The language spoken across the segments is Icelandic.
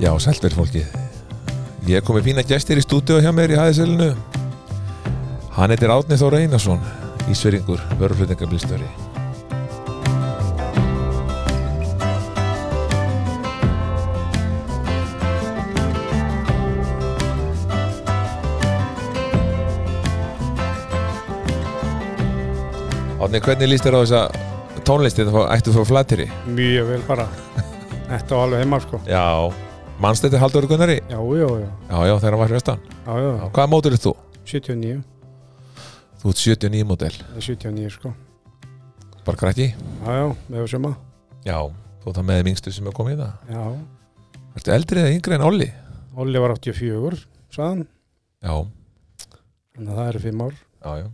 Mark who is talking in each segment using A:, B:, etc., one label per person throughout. A: Já, sælver fólkið Ég kom með fína gestir í stúdíu hjá mér í ASL-inu Hann heitir Átni Þór Einarsson Ísveringur, vörflutningablistjóri Átni, hvernig líst þér á þessa tónlisti það ættu þú að flateri?
B: Mjög vel bara Þetta var alveg heima sko
A: Já Manst þetta Haldur Gunnari?
B: Já, já, já,
A: Já, já, þegar hann var hrestan
B: já, já.
A: Hvaða mótur ert þú?
B: 79
A: Þú ert 79 mótel,
B: Eða 79 sko
A: bara krakki
B: Já, já, með þessum að
A: Já, þú ert það með þeim yngstu sem er komið í það
B: Já,
A: Ertu eldri eða yngri en Olli?
B: Olli var 84 Saðan,
A: Já,
B: þannig að það eru 5 ár
A: já, já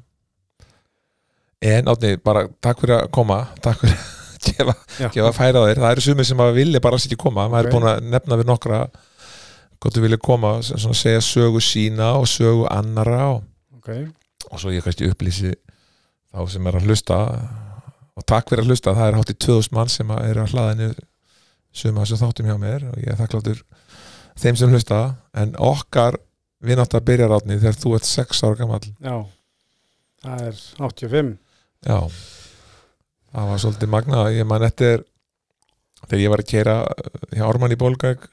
A: En Átni, bara takk fyrir að koma Takk fyrir að gefa,
B: Já.
A: gefa færa á þér Það eru sumir sem að vilja bara alls ekki koma Maður er
B: Ok.
A: búin að nefna við nokkra Hvort þú vilja koma sem svona segja sögu sína og sögu annara og,
B: Ok,
A: og svo ég kannski upplýsi þá sem er að hlusta og takk fyrir að hlusta, það er hátt í 2000 mann sem að eru að hlaða niður suma sem þáttum hjá mér og ég er þakkláttur þeim sem hlusta en okkar vinnátt að byrja rátni þegar þú ert 6 ára gamall
B: já Það er 85
A: já, það var svolítið magna ég man eftir þegar ég var að kera hjá Orman í Bólgag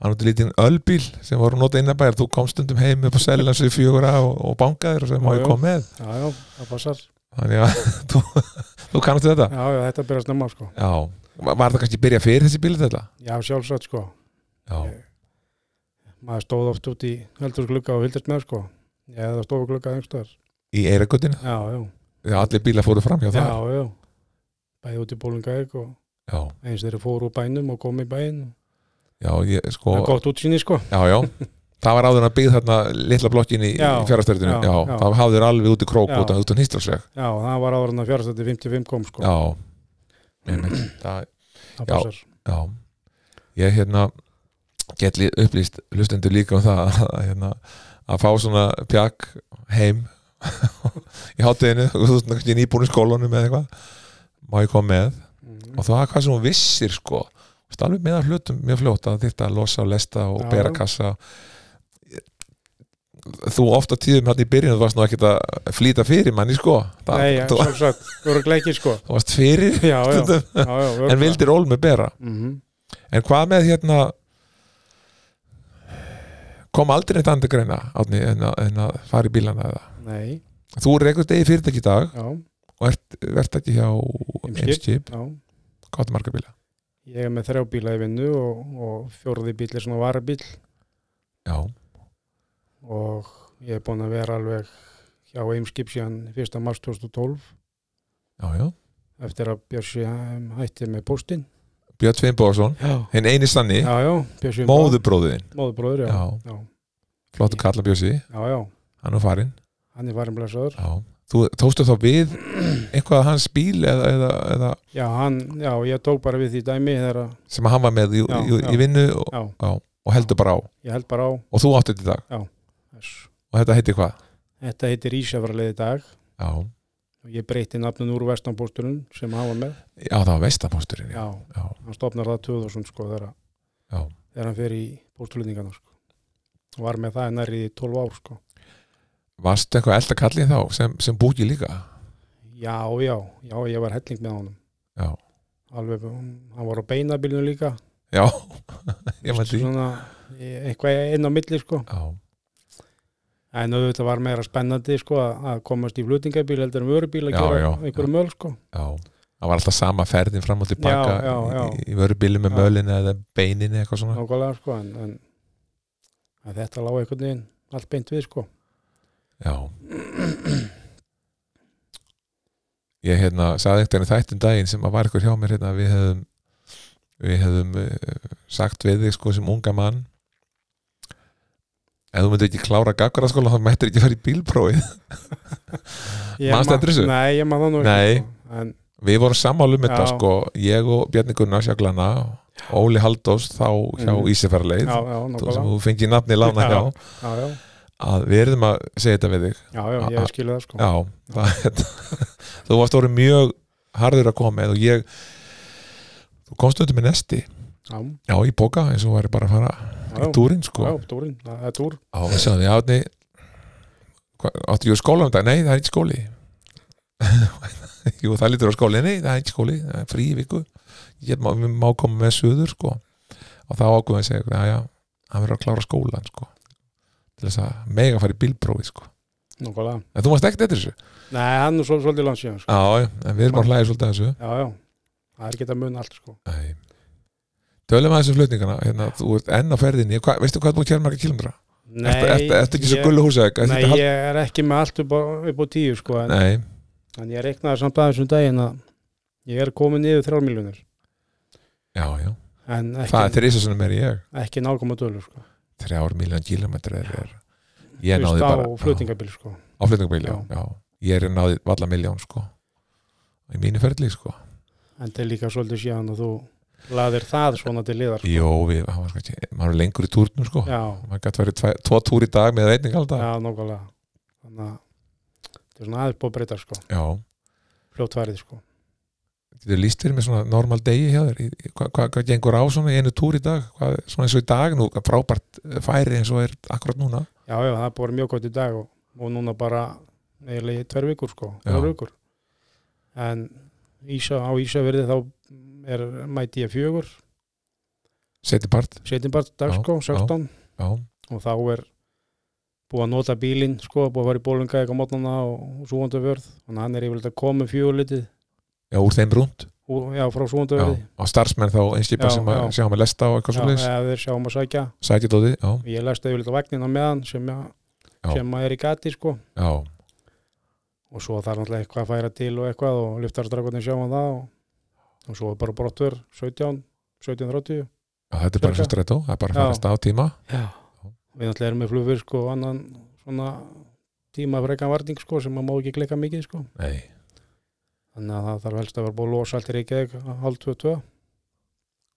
A: hann átti lítinn ölbíl sem voru nota innabæðar, þú komst stundum heim upp á Sellands í fjögura og, og bankaðir og sem má
B: Já,
A: ég
B: já.
A: kom með
B: Já, já, það passar Já,
A: þannig að þú, þú kannast þetta
B: já, þetta byrja snemma sko
A: já, var var það kannski byrja fyrir þessi bíl þetta?
B: Já, sjálfsagt sko
A: já,
B: Maður stóð oft út í heldur glugga og vildist með sko Já, það stóð glugga einhverstaðar
A: í Eirakutin,
B: Já, já,
A: já, allir bílar fóru fram hjá
B: já,
A: það,
B: já Bæði út í Bólungavík og
A: já,
B: eins þeirri fóru úr bænum og komi í bæin
A: já, ég, sko
B: Það er gott útsýni sko
A: já, já, það var áður að byggð þarna litla blokkin í, í
B: Já,
A: fjárastöldinu,
B: já,
A: já,
B: já.
A: það hafður alveg út í krók
B: Já.
A: út á út á nýstlarsveg,
B: Já, það var áður en að fjárstætti 55 kom sko
A: já einmitt, það,
B: Það
A: já.
B: passar.
A: já ég hérna get lí- upplýst hlustendur líka um það að, hérna, að fá svona pjakk heim í hátteginu, þú veist, kannski nýbúin í skólanum eða eitthvað, má ég koma með
B: Mm.
A: og það er hvað sem hún vissir sko Þú veist, alveg með að hlutum mjög fljóta að þetta að losa og lesta og
B: Já.
A: bera kassa þú ofta tíðum hann í byrjun þú varst nú ekkert að flýta fyrir manni sko það,
B: Nei, já,
A: þú,
B: sjálfsagt, þú eru gleikið sko
A: þú varst fyrir
B: Já, já, já,
A: stundum,
B: já
A: en vildir ólmi bera
B: mm
A: en hvað með hérna kom aldrei neitt andur greina átni, en, að, en að fara í bílana eða
B: Nei,
A: þú er eitthvað degi fyrirtæki í dag
B: já,
A: og ert, ert ekki hjá
B: Eimskip.
A: Eimskip,
B: já
A: hvað er marga bíla?
B: Ég er með þrjá bíla í vinnu og, og fjórði bíl er svona varabíl
A: Já,
B: og ég er búin að vera alveg hjá Eimskip síðan 1. mars 2012
A: já, já
B: eftir að Björsi um, hætti með póstinn
A: Björn Sveinbóðarsson,
B: Já,
A: hinn eini sanni
B: já, já Björsi um það.
A: móðubróðin
B: Móðurbróður, já.
A: Já.
B: já
A: flottu kalla Bjössi,
B: Já, já,
A: hann er farinn
B: hann er farin blessaður
A: já. þú tókstu þá við eitthvað að hans bíl eða, eða, eða
B: Já, hann, já, ég tók bara við því dæmi þegar að,
A: sem hann var með í,
B: Já,
A: í,
B: já.
A: í vinnu og,
B: já,
A: og heldur bara á
B: ég held bara á
A: og þú átti þetta í dag
B: þess
A: og þetta heiti hvað
B: Þetta heitir Ísjafralið í dag
A: já,
B: og ég breyti nafnun úr Vestanbústurinn sem hann var með.
A: já það var vestapósturinn já.
B: Já,
A: Já.
B: hann stopnar það 2000 sko þegar,
A: Já.
B: þegar hann fer í bústurlendingana sko. Og var með það nærri í 12 ár sko.
A: varstu eitthvað elda kallið þá sem, sem búki líka
B: Já, já, já, ég var helling með honum.
A: já,
B: Alveg, hann var á beinabilinu líka.
A: já ég með því já.
B: Svona, e- eitthvað inn á milli sko. En auðvitað var meira spennandi sko að að komast í flutingabíl heldur en vörubíl að
A: Já,
B: gera
A: já,
B: einhverju möl sko.
A: já, það var alltaf sama ferðin fram og tilbaka
B: Já, já, já.
A: í, í vörubílu með
B: Já.
A: mölinu eða beininu eitthvað svona
B: Nákvæmlega sko, en, en, en þetta lág einhvern veginn allt beint við sko.
A: Já Ég hérna sagði einhvern veginn í þættum daginn sem að var ykkur hjá mér hérna að við hefðum við hefðum uh, sagt við þig sko sem unga mann ef þú myndir ekki klára gaggaraskóla þá mættir ekki fara í bílprófið
B: Ég
A: Manstu
B: ma-
A: eftir þessu?
B: Nei, ég maður það nú
A: Nei.
B: ekki sko. en,
A: Við vorum sammálum með þetta
B: Já.
A: sko ég og Bjarni Gunnars Jaglana Óli Haldós þá hjá
B: Mhm.
A: mm. Ísifærleið
B: Já, já,
A: þú sem
B: nákvæmlega
A: þú fengið nafni lána
B: Já.
A: hjá
B: Já, já,
A: að við erum að segja þetta við þig
B: já, já,
A: A-
B: ég skilu það sko
A: Já, það, þú varst orðið mjög harður að koma með og ég þú komst undir með nesti
B: já,
A: já, í boka eins og þú væri bara að fara í túrin sko
B: já, túrin, það það er túr
A: á, við sagðum við átni áttu ég skóla um dag, nei það er ekki skóli jú það lítur á skóli nei það er ekki skóli, það er frí í viku ég má, við má koma með suður sko og þá ákveðum við að segja já já, hann verður að klára skólan sko til þess að mega fara í bílprófi sko
B: Nákvæmlega.
A: en þú varst ekkert eftir þessu
B: Nei, hann er svo, svolítið langt síðan sko.
A: já, já, en við erum að hlæða svolítið að þessu
B: Já, já, það er ekki að mun allt sko.
A: Nei. Tölum aðeins um flutningana hérna, Þú ert enn á ferðinni Hva, Veistu hvað er búin að kjæra marga kilomra?
B: Nei,
A: Ertu, ertu, ertu ekki svo
B: ég-
A: gullu húsæk?
B: Nei, ég er ekki með allt upp á, upp á tíu sko, en,
A: Nei,
B: en ég reiknaði samt aðeins um daginn að ég er komin niður þrjálmílunir
A: já, já
B: en
A: Það er
B: ekki,
A: þeir ísa svona meir ég
B: ekki nákvæm að dölu sko.
A: Þrjár miljón kilometra er, er. Ég
B: Þú
A: náði
B: veist,
A: bara
B: á flutningabíl sko.
A: á flutningabíl, já.
B: Já.
A: já Ég er náði valla miljón sko Í mínu ferðli sko
B: en það er líka svolítið síðan og þú laðir það svona til liðar sko.
A: Jó, við, hann var, sko, maður er lengur í túrnum sko
B: Já,
A: Maður gætt verið tvæ- tvo túr í dag með einning alltaf
B: já, nákvæmlega þannig að þetta er svona aðeins búið að breyta sko,
A: já.
B: fljótfærið sko.
A: Getur líst fyrir með svona normal degi hjá þér Í- í- Hvað hva, hva gengur á svona í einu túr í dag hvað, Svona eins og í dag nú frábært eh, færi eins og er akkurat núna
B: Já, já, það er búið að vera mjög gott í dag og, og núna bara eiginlega í tver vikur sko,
A: Já.
B: tver vikur en Ísa, á Ísafirði þá er mæti ég fjögur
A: Seti part,
B: setjumbar dag
A: Já,
B: sko, 16
A: já,
B: og þá er búið að nota bílinn sko, búið að fara í bólunga eitthvað mótnana og, og súhandavörð þannig að hann er yfirleitt að koma fjögurlitið
A: já úr þeim rúnd
B: úr- já, frá
A: já,
B: súhandavörði
A: og starfsmenn þá einskipa
B: Já,
A: sem að
B: já.
A: sjá með lesta og eitthvað
B: Já,
A: svo leis
B: eða þeir sjáum að sækja
A: sækja dóti, já,
B: ég lesta yfirleitt á vagnin á meðan sem, já,
A: Já.
B: sem að er í gati sko.
A: já,
B: og svo þarf náttúrulega eitthvað að færa til og eitthvað og lyftarstrakotin sjáum það og, og svo er bara brottver 17, 17.30
A: já þetta er bara
B: Bjarga.
A: svo strætó það er bara að
B: Já.
A: fara stað á tíma
B: Já. við náttúrulega erum með flugvirk og annan svona tíma frekan varning sko, sem maður má ekki klika mikið sko.
A: Nei.
B: þannig að það þarf helst að vera búið að losa allt í Reykjavík á hálf 22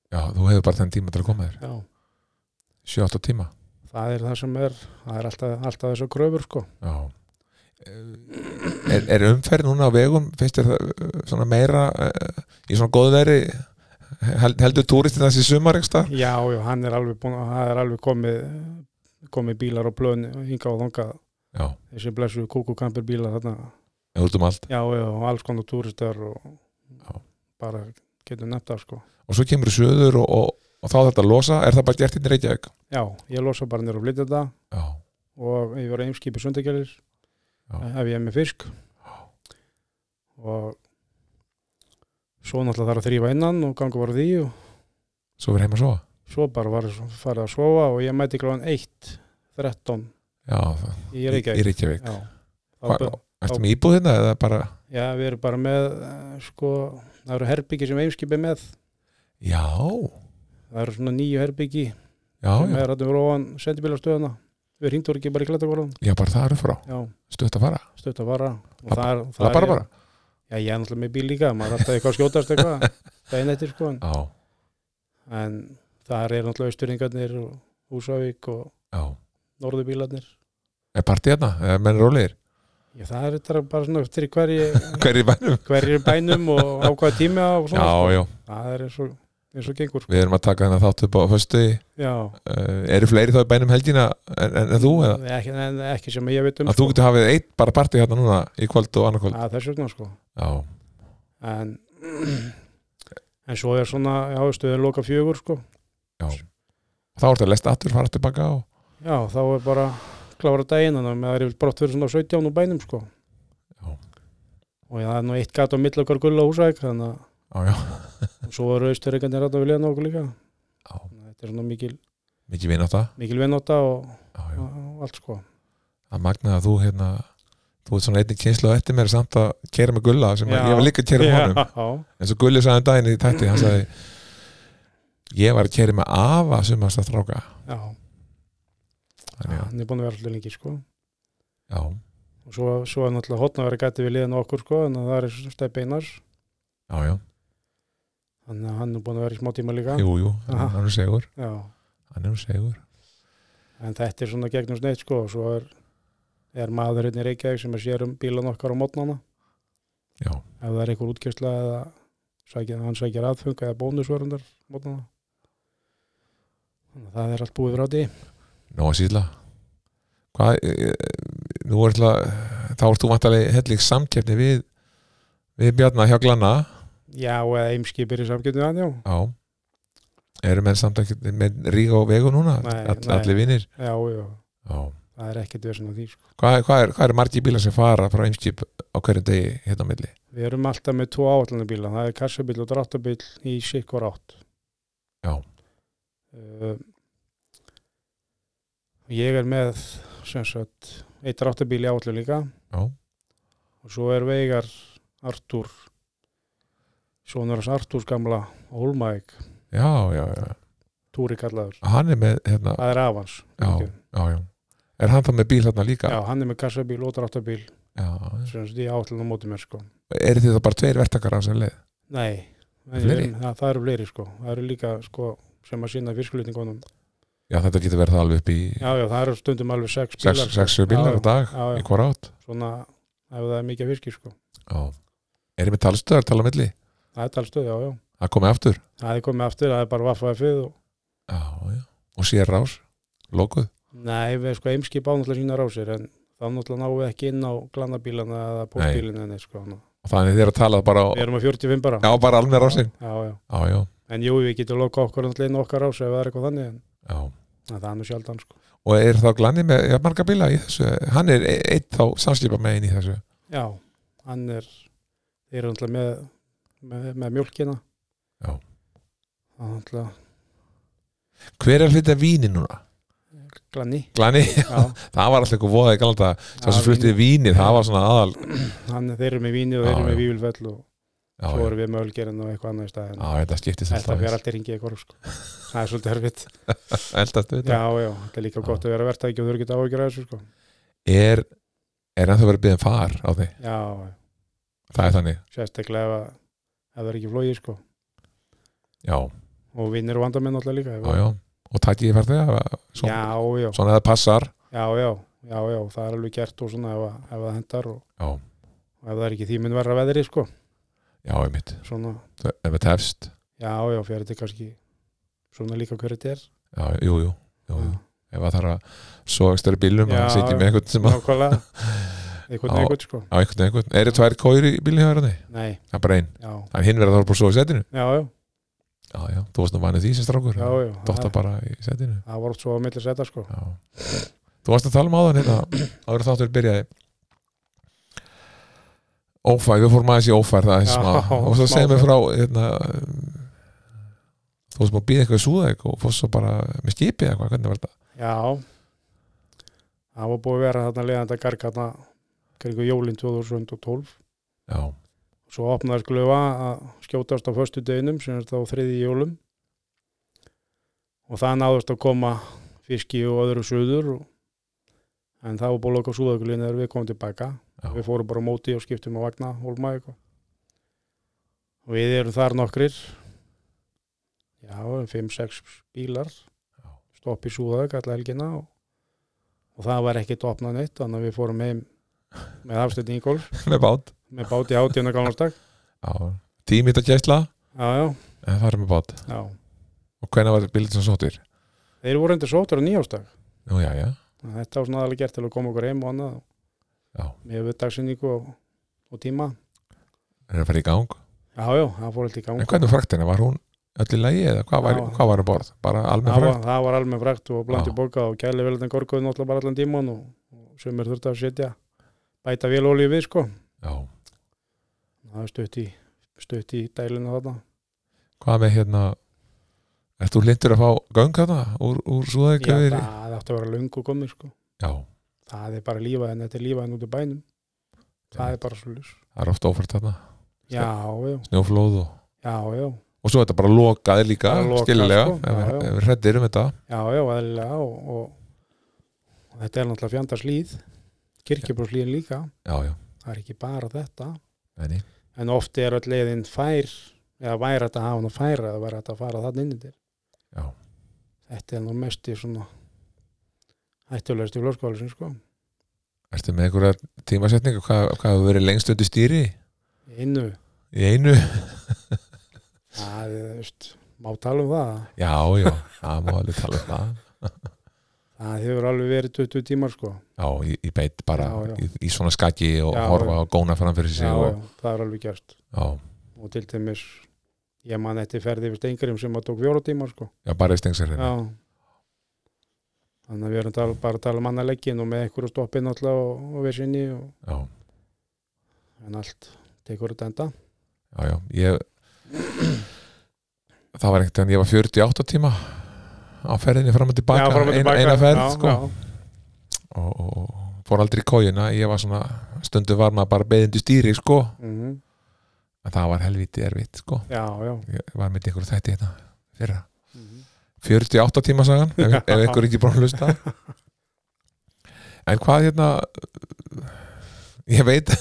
A: já, þú hefur bara þenn tíma til að koma þér
B: Já.
A: 7-8 tíma,
B: það er það sem er það er alltaf, alltaf þessu kröfur sko.
A: já Eh, er, er umferð núna á vegum finnst þér það uh, svona meira uh, í svona góðu veri hel, heldur túristin þessi sumar ekki stað?
B: já, já, hann er alveg, búin, það er alveg komið, komið bílar og blöðin hinga og þangað
A: já,
B: þessi blessu kúkukampir bílar þarna
A: eða út um allt
B: já, já, og alls konar túristar og
A: Já.
B: bara getur nefnt það sko
A: og svo kemur söður og, og, og þá þetta losa, er það bara gert inn í Reykjavík?
B: já, ég losa bara nýra og flytja þetta
A: já,
B: og ég verið einskipi sundagjölir
A: Já.
B: ef ég er með fisk og svo náttúrulega þarf að þrýfa innan og ganga bara á því og
A: svo verið heima svo
B: svo bara var farið að sofa og ég mæti gráðan 1 13
A: já, það,
B: í
A: í
B: Reykjavík
A: Reykjavík.
B: já, Þá
A: Hva,
B: bara-
A: ertu með íbúð hérna eða bara
B: já, við erum bara með eh, sko, það eru herbyggi sem einskipi með
A: já,
B: það eru svona nýju herbyggi
A: já,
B: sem
A: já,
B: er rættum fyrir ofan sendibílastöðuna við hringdur ekki bara í klættakólan
A: já bara það eru frá
B: já,
A: stutt að fara,
B: stöðt að vara og
A: Labba-
B: það er,
A: það bara bara
B: já, ég er náttúrulega með bíl líka maður er alltaf eitthvað að skjótast eitthvað daginn eftir sko en,
A: já,
B: en það er náttúrulega austuringarnir og Húsavík og
A: já,
B: Norðubílarnir
A: er partí hérna eða menn rólegir,
B: já, það er þetta bara svona eftir í hverju
A: hverju bænum
B: hverju bænum og á hvaða tíma og
A: já,
B: svona sko.
A: já,
B: það er eins og, eins og gengur sko.
A: við erum að taka þennan þátt upp á föstu uh,
B: já,
A: eru fleiri þá í bænum helgina en, en, en þú eða,
B: ekki, en, ekki sem ég veit um
A: að þú getur hafið eitt bara partí hérna núna í kvöld og annarkvöld,
B: að þess vegna sko
A: já,
B: en en svo er svona, já, stöðin loka fjögur sko,
A: já þá ertu að lesta aftur, fara tilbaka og
B: já, þá er bara klára daginn, þannig að það er yfir brott fyrir svona 17 úr bænum sko
A: Já.
B: og það er nú eitt gat á milli okkar gulla húsæk, þannig
A: já, já,
B: að svo eru austurreikandir að vilja nokkuð líka
A: já,
B: þetta er svona mikil,
A: mikið vinn á það
B: mikil vinnóta og,
A: já, já,
B: og allt sko
A: að magna að þú hérna þú ert svona einnig kynslu á eftir mér samt að kera með gulla sem
B: Já.
A: að ég var líka að kera með honum
B: já,
A: En svo Gulli sagði um daginn í tætti, hann sagði ég var að keri með afa sem að stráka
B: já,
A: Þannig að,
B: hann er búin að vera alltaf lengi sko
A: já,
B: og svo, svo er náttúrulega hotna að vera gæti við liðan á okkur sko, þannig að það er steppi einar
A: já, já,
B: þannig að hann er búin að vera í smá tíma líka
A: jú, jú
B: Aha.
A: hann er segur,
B: já
A: hann er segur
B: en þetta er svona gegnum sneitt sko og svo er, er maður hérna í Reykjavík sem er sér um bílan okkar á mótnana
A: já,
B: ef það er einhver útkjörsla eða sækja, hann sækir aðfung eða bónusvörundar mótnana Þannig að það er allt búið frá því.
A: Nóa síðla Hvað, eh, eh, nú er alltaf þá ert þú vantalegi hellig samkeppni við við Bjarnar hjá Glanna
B: Já, eða eimskipir í samgjöndinu hann, já.
A: Já Eru menn samt ekki með ríga og vegu núna?
B: Nei,
A: All,
B: nei.
A: Allir vinnir
B: Já, já,
A: Já
B: það er ekkert verið svona því, sko.
A: Hvað, hvað, er, hvað er margir bílar sem fara frá Eimskip á hverjum degi hérna á milli?
B: Við erum alltaf með tvo áallanabíla, það er kassabíl og dráttabíl í sikkur átt.
A: Já.
B: Uh, ég er með, sem sagt, eitt dráttabíl í áallan líka
A: Já,
B: og svo er Veigar Artúr, sonur hans Artúrs gamla Hólmæk,
A: já, já, já.
B: Túri kallaður.
A: Hann er með, hérna,
B: Það er afans.
A: já, já, já. Er hann þá með bíl hérna líka?
B: Já, hann er með kassabíl og dráttabíl,
A: já.
B: sem sagt, í áallan á móti mér, sko.
A: Eru þið þá bara tveir vertakar á sem leið?
B: Nei, en
A: Fleiri?
B: við- það, það eru fleiri sko það eru líka sko sem að sína fiskulutningunum
A: Já, þetta getur verið það alveg upp í
B: já, já, það eru stundum alveg sex bílar
A: sex- sex sjö bílar
B: já,
A: á dag
B: já, já.
A: í hvar átt.
B: svona ef það er mikið fiski sko
A: Já. Erum við talstöðar tala á milli?
B: það er talstöð, já, já,
A: Það komið aftur?
B: það er komið aftur það er bara vaffaði fyrir og
A: Já, já. Og sér rás? Lókuð?
B: nei, við sko eimskip á náttúrulega sína rásir en þá náttúrulega náum við ekki inn á glanabílana eða póstbílina nei, sko þannig að
A: Og þannig þið eru að tala bara á,
B: við erum að 45 bara
A: já, bara alveg rásin?
B: já, já,
A: Já, já,
B: en jú, við getum loka okkur náttúrulega inn á okkar rás ef það er eitthvað þannig en
A: já.
B: en það er nú sjaldan sko
A: Og er þá glanni með ja, marga bíla í þessu? Hann er e- einn þá samskipa með einn í þessu?
B: já, hann er þeir eru náttúrulega með, með, með mjólkina
A: Já.
B: það er náttúrulega
A: Hver er hluti af víni núna?
B: Glanni
A: Glanni,
B: já,
A: það var alltaf eitthvað voða í galda Sá
B: Já,
A: sem fluttið víni, það var svona aðal
B: hann, þeir eru með víni og
A: Já,
B: þeir eru með
A: já.
B: vívilfell og
A: Já,
B: svo
A: já,
B: erum við með ölgerinn og eitthvað annað í staðin
A: já, þetta skiptist
B: þetta
A: alltaf
B: fyrir
A: eins.
B: alltaf ringið í korf sko. það er svolítið erfitt já,
A: Eldast við þetta
B: já, þetta er líka
A: Já.
B: gott að vera verta ekki og þau eru ekki áhyggjur af þessu sko.
A: Er, er ennþá verið byggðin far á því?
B: já, já,
A: Það er þannig,
B: sérstaklega ef, að- ef það er ekki flóið sko.
A: já,
B: og vinnir og vandamenn alltaf líka
A: já, já Og takk ég fær þegar,
B: já,
A: svona,
B: já,
A: svona að það passar
B: já, já, já, já, það er alveg gert og svona ef, að- ef það hendar og,
A: Já.
B: og ef það er ekki þýminn verra veðri sko.
A: Já, einmitt,
B: svona,
A: Það- ef þetta hefst
B: já, já, fyrir þetta kannski svona líka hverju þetta er
A: Já, jú, jú, jú, jú. Ef það þarf að svo ekstra bílum
B: Já,
A: að sitja
B: já.
A: með einhvern sem að
B: nákvæmlega eitthvað
A: Já.
B: neikvæmt sko
A: á einhvern einhvern, eru tvær kóri í bílum hjá hérna?
B: Nei,
A: Það er bara einn,
B: já,
A: en hinn verður að þarf bara svo í setinu
B: já, já,
A: Já, já, þú varst nú vanið því sem strákur
B: já, já
A: Dotta
B: það,
A: bara í setinu
B: það var oft svo á milli seta sko
A: Já. Þú varst að tala um áðan hérna áður en þáttur byrjaði Ófær, við fórum aðeins í ófær það er
B: Já,
A: smá, og svo
B: smá
A: segir mér
B: ófærð.
A: frá hérna, um, þú varst maður að býða eitthvað í súðaðik og fórst svo bara með skipi eða eitthvað, hvernig var þetta?
B: Já Það var búið að vera þarna leiðan þetta garg hérna kringu jólin 2012
A: Já,
B: Svo opnaði sklufa að skjótast á föstu deginum sem er þá þriði jólum og það náðust að koma fiski og öðru suður og, en það var búið að loka súðakulínu þegar við komum tilbaka
A: já,
B: við fórum bara á móti og skiptum á vagna hólma eitthvað og við erum þar nokkrir já, 5-6 bílar stopp í Súðavík alla helgina og, og það var ekkit opnað neitt þannig að við fórum heim með afstöðni í golf
A: með bát
B: með báti átíðan og galnastak
A: já. Tími þetta gæsla,
B: já, já,
A: en það er með bát
B: já
A: og hvernig var bílið sem sóttir?
B: þeir voru endur sótur á nýjástak
A: Nú, já, já,
B: þetta var svona aðalega gert til að koma okkur heim og annað
A: Já.
B: með við dagsinningu og, og tíma
A: er að fara í gang
B: já, já, það fór alltaf í gang
A: En hvernig fraktina, var hún öll í lagi eða hvað var,
B: Já.
A: hvað var um borð? Bara almenn
B: það
A: frakt?
B: var, það var alveg frækt og blandi
A: Já.
B: borga og kæli vel þannig gorkuðu náttúrulega bara allan tíman og, og sömur þurfti að setja bæta vel olíu við sko
A: Já,
B: það er stutt í, stutt í dælinu þarna
A: hvað með hérna Ert þú lindur að fá göng þarna úr, úr
B: já,
A: Súðavík
B: það
A: yfir í-
B: átti að vera löngu komið sko
A: Já,
B: það er bara lífað en þetta er lífað en út í bænum það er bara svo ljus
A: það er ofta ófært þarna
B: já, já,
A: snjóflóð og,
B: já, já,
A: og svo er þetta bara lokað líka
B: Bara lokað,
A: skililega,
B: sko.
A: ef,
B: Já,
A: við-
B: já.
A: ef við hrettir um þetta
B: já, já, aðlilega og, og, og þetta er náttúrulega fjandarslíð kirkjubróslíðin líka
A: Já, já,
B: það er ekki bara þetta
A: enni
B: en ofti er öll leiðin fær eða væri þetta að hafa hann að færa eða væri þetta að fara þarna inn í
A: Já.
B: þér þetta er nú mest í svona hættulegst í flóskólusin sko
A: Ertu með einhverja tímasetningu, hvað, hvað hefur verið lengst undir stýri
B: innu,
A: í einu?
B: það er þú veist má tala um það
A: já, já, það má alveg tala um það
B: það hefur alveg verið 20 tímar sko
A: já, í, í beitt bara
B: Já, já.
A: Í, í svona skaki og
B: Já,
A: horfa og góna fram fyrir sig
B: já, já,
A: og,
B: það er alveg gert
A: já.
B: og til dæmis ég man eftir ferði við stengurinn sem að tók fjóra tímar sko
A: já, bara í stengsar
B: já þannig að við erum tal, bara að tala um annað leggin og með einhverju stoppi náttúrulega og, og við sinni og,
A: já,
B: en allt tekur þetta enda
A: já, já, ég það var ekkert en ég var 48 tíma á ferðinni fram og tilbaka,
B: Já, fram og tilbaka.
A: eina, eina ferð
B: Já,
A: sko.
B: já.
A: og, og, og fór aldrei í kójuna ég var svona, stundu var maður bara beðindu stýri sko,
B: Mhm.
A: en það var helviti erfitt sko,
B: já, já.
A: ég var með einhverju þætti hérna fyrra,
B: Mhm.
A: 48 tíma sagan ef,
B: Já.
A: ef einhver er ekki búin að hlusta en hvað hérna ég veit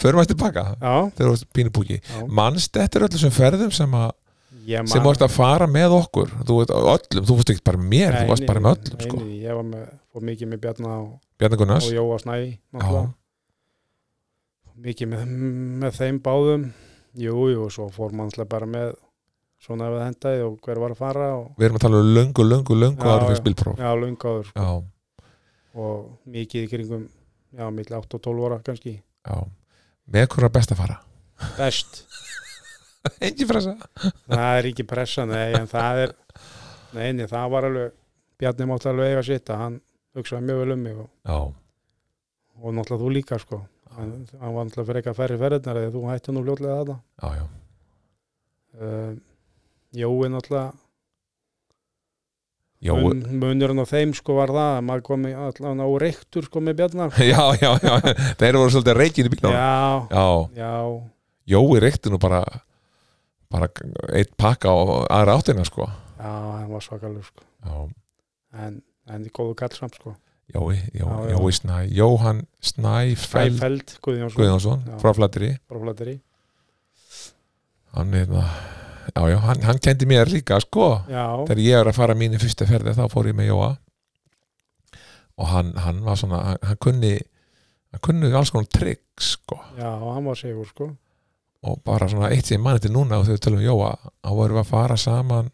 A: förum að tilbaka
B: já,
A: þegar þú varst pínubúki
B: já.
A: mannst þetta er öllum sem ferðum sem, a,
B: Ég
A: sem
B: man-
A: varst að fara með okkur þú veist öllum, þú fórst ekki bara með mér þú
B: Nei,
A: varst bara
B: nei,
A: með öllum
B: nei,
A: sko.
B: nei, ég var með, fór mikið með Bjarna og,
A: Bjarni Gunnars
B: og Jóa Snæ
A: já,
B: náttúrulega. mikið með, með þeim báðum jú, jú, og svo fór mannslega bara með svona ef það hendaði og hver var að fara og
A: við erum að tala um löngu, löngu, löngu
B: Já,
A: ára
B: já.
A: fyrir spilpróf
B: já, lungaður
A: já,
B: og mikið í kringum já, milli 8 og 12 ára kannski
A: já með hverja best að fara
B: best,
A: engin frasa
B: það er ekki pressa nei, en það er nei, nei, það var alveg, Bjarni mátti alveg eiga sitt að hann hugsaði mjög vel um mig og,
A: já,
B: og náttúrulega þú líka sko hann, hann var náttúrulega fyrir eitthvað færri ferðnar eða þú hætti nú fljótlega þetta
A: já, já,
B: uh, Jói náttúrulega
A: já,
B: mun, munurinn á þeim sko var það að maður komi allan á reyktur sko með bjarnar
A: já, já, já. þeir voru svolítið reygin í bílunum
B: já,
A: já.
B: já,
A: Jói reykti nú bara bara eitt pakka á aðra áttina sko
B: já hann var svakalur sko
A: já,
B: en, en í góðu kall samt sko
A: Jói, Jó,
B: Já, já.
A: Jói Snæ Jóhann Snæ Fæl
B: Fæfeld, Guðjón sko
A: Guðjónsson
B: Já.
A: frá Flateri
B: fráflættari
A: hann, hérna, já, já, hann, hann kendi mér líka sko
B: já,
A: þegar ég er að fara mínu fyrsta ferði þá fór ég með Jóa og hann, hann var svona hann, hann kunni hann kunni alls konar trygg sko
B: já, hann var segur sko
A: og bara svona eitt sem ég mann þetta núna og þegar við tölum um Jóa þá vorum við að fara saman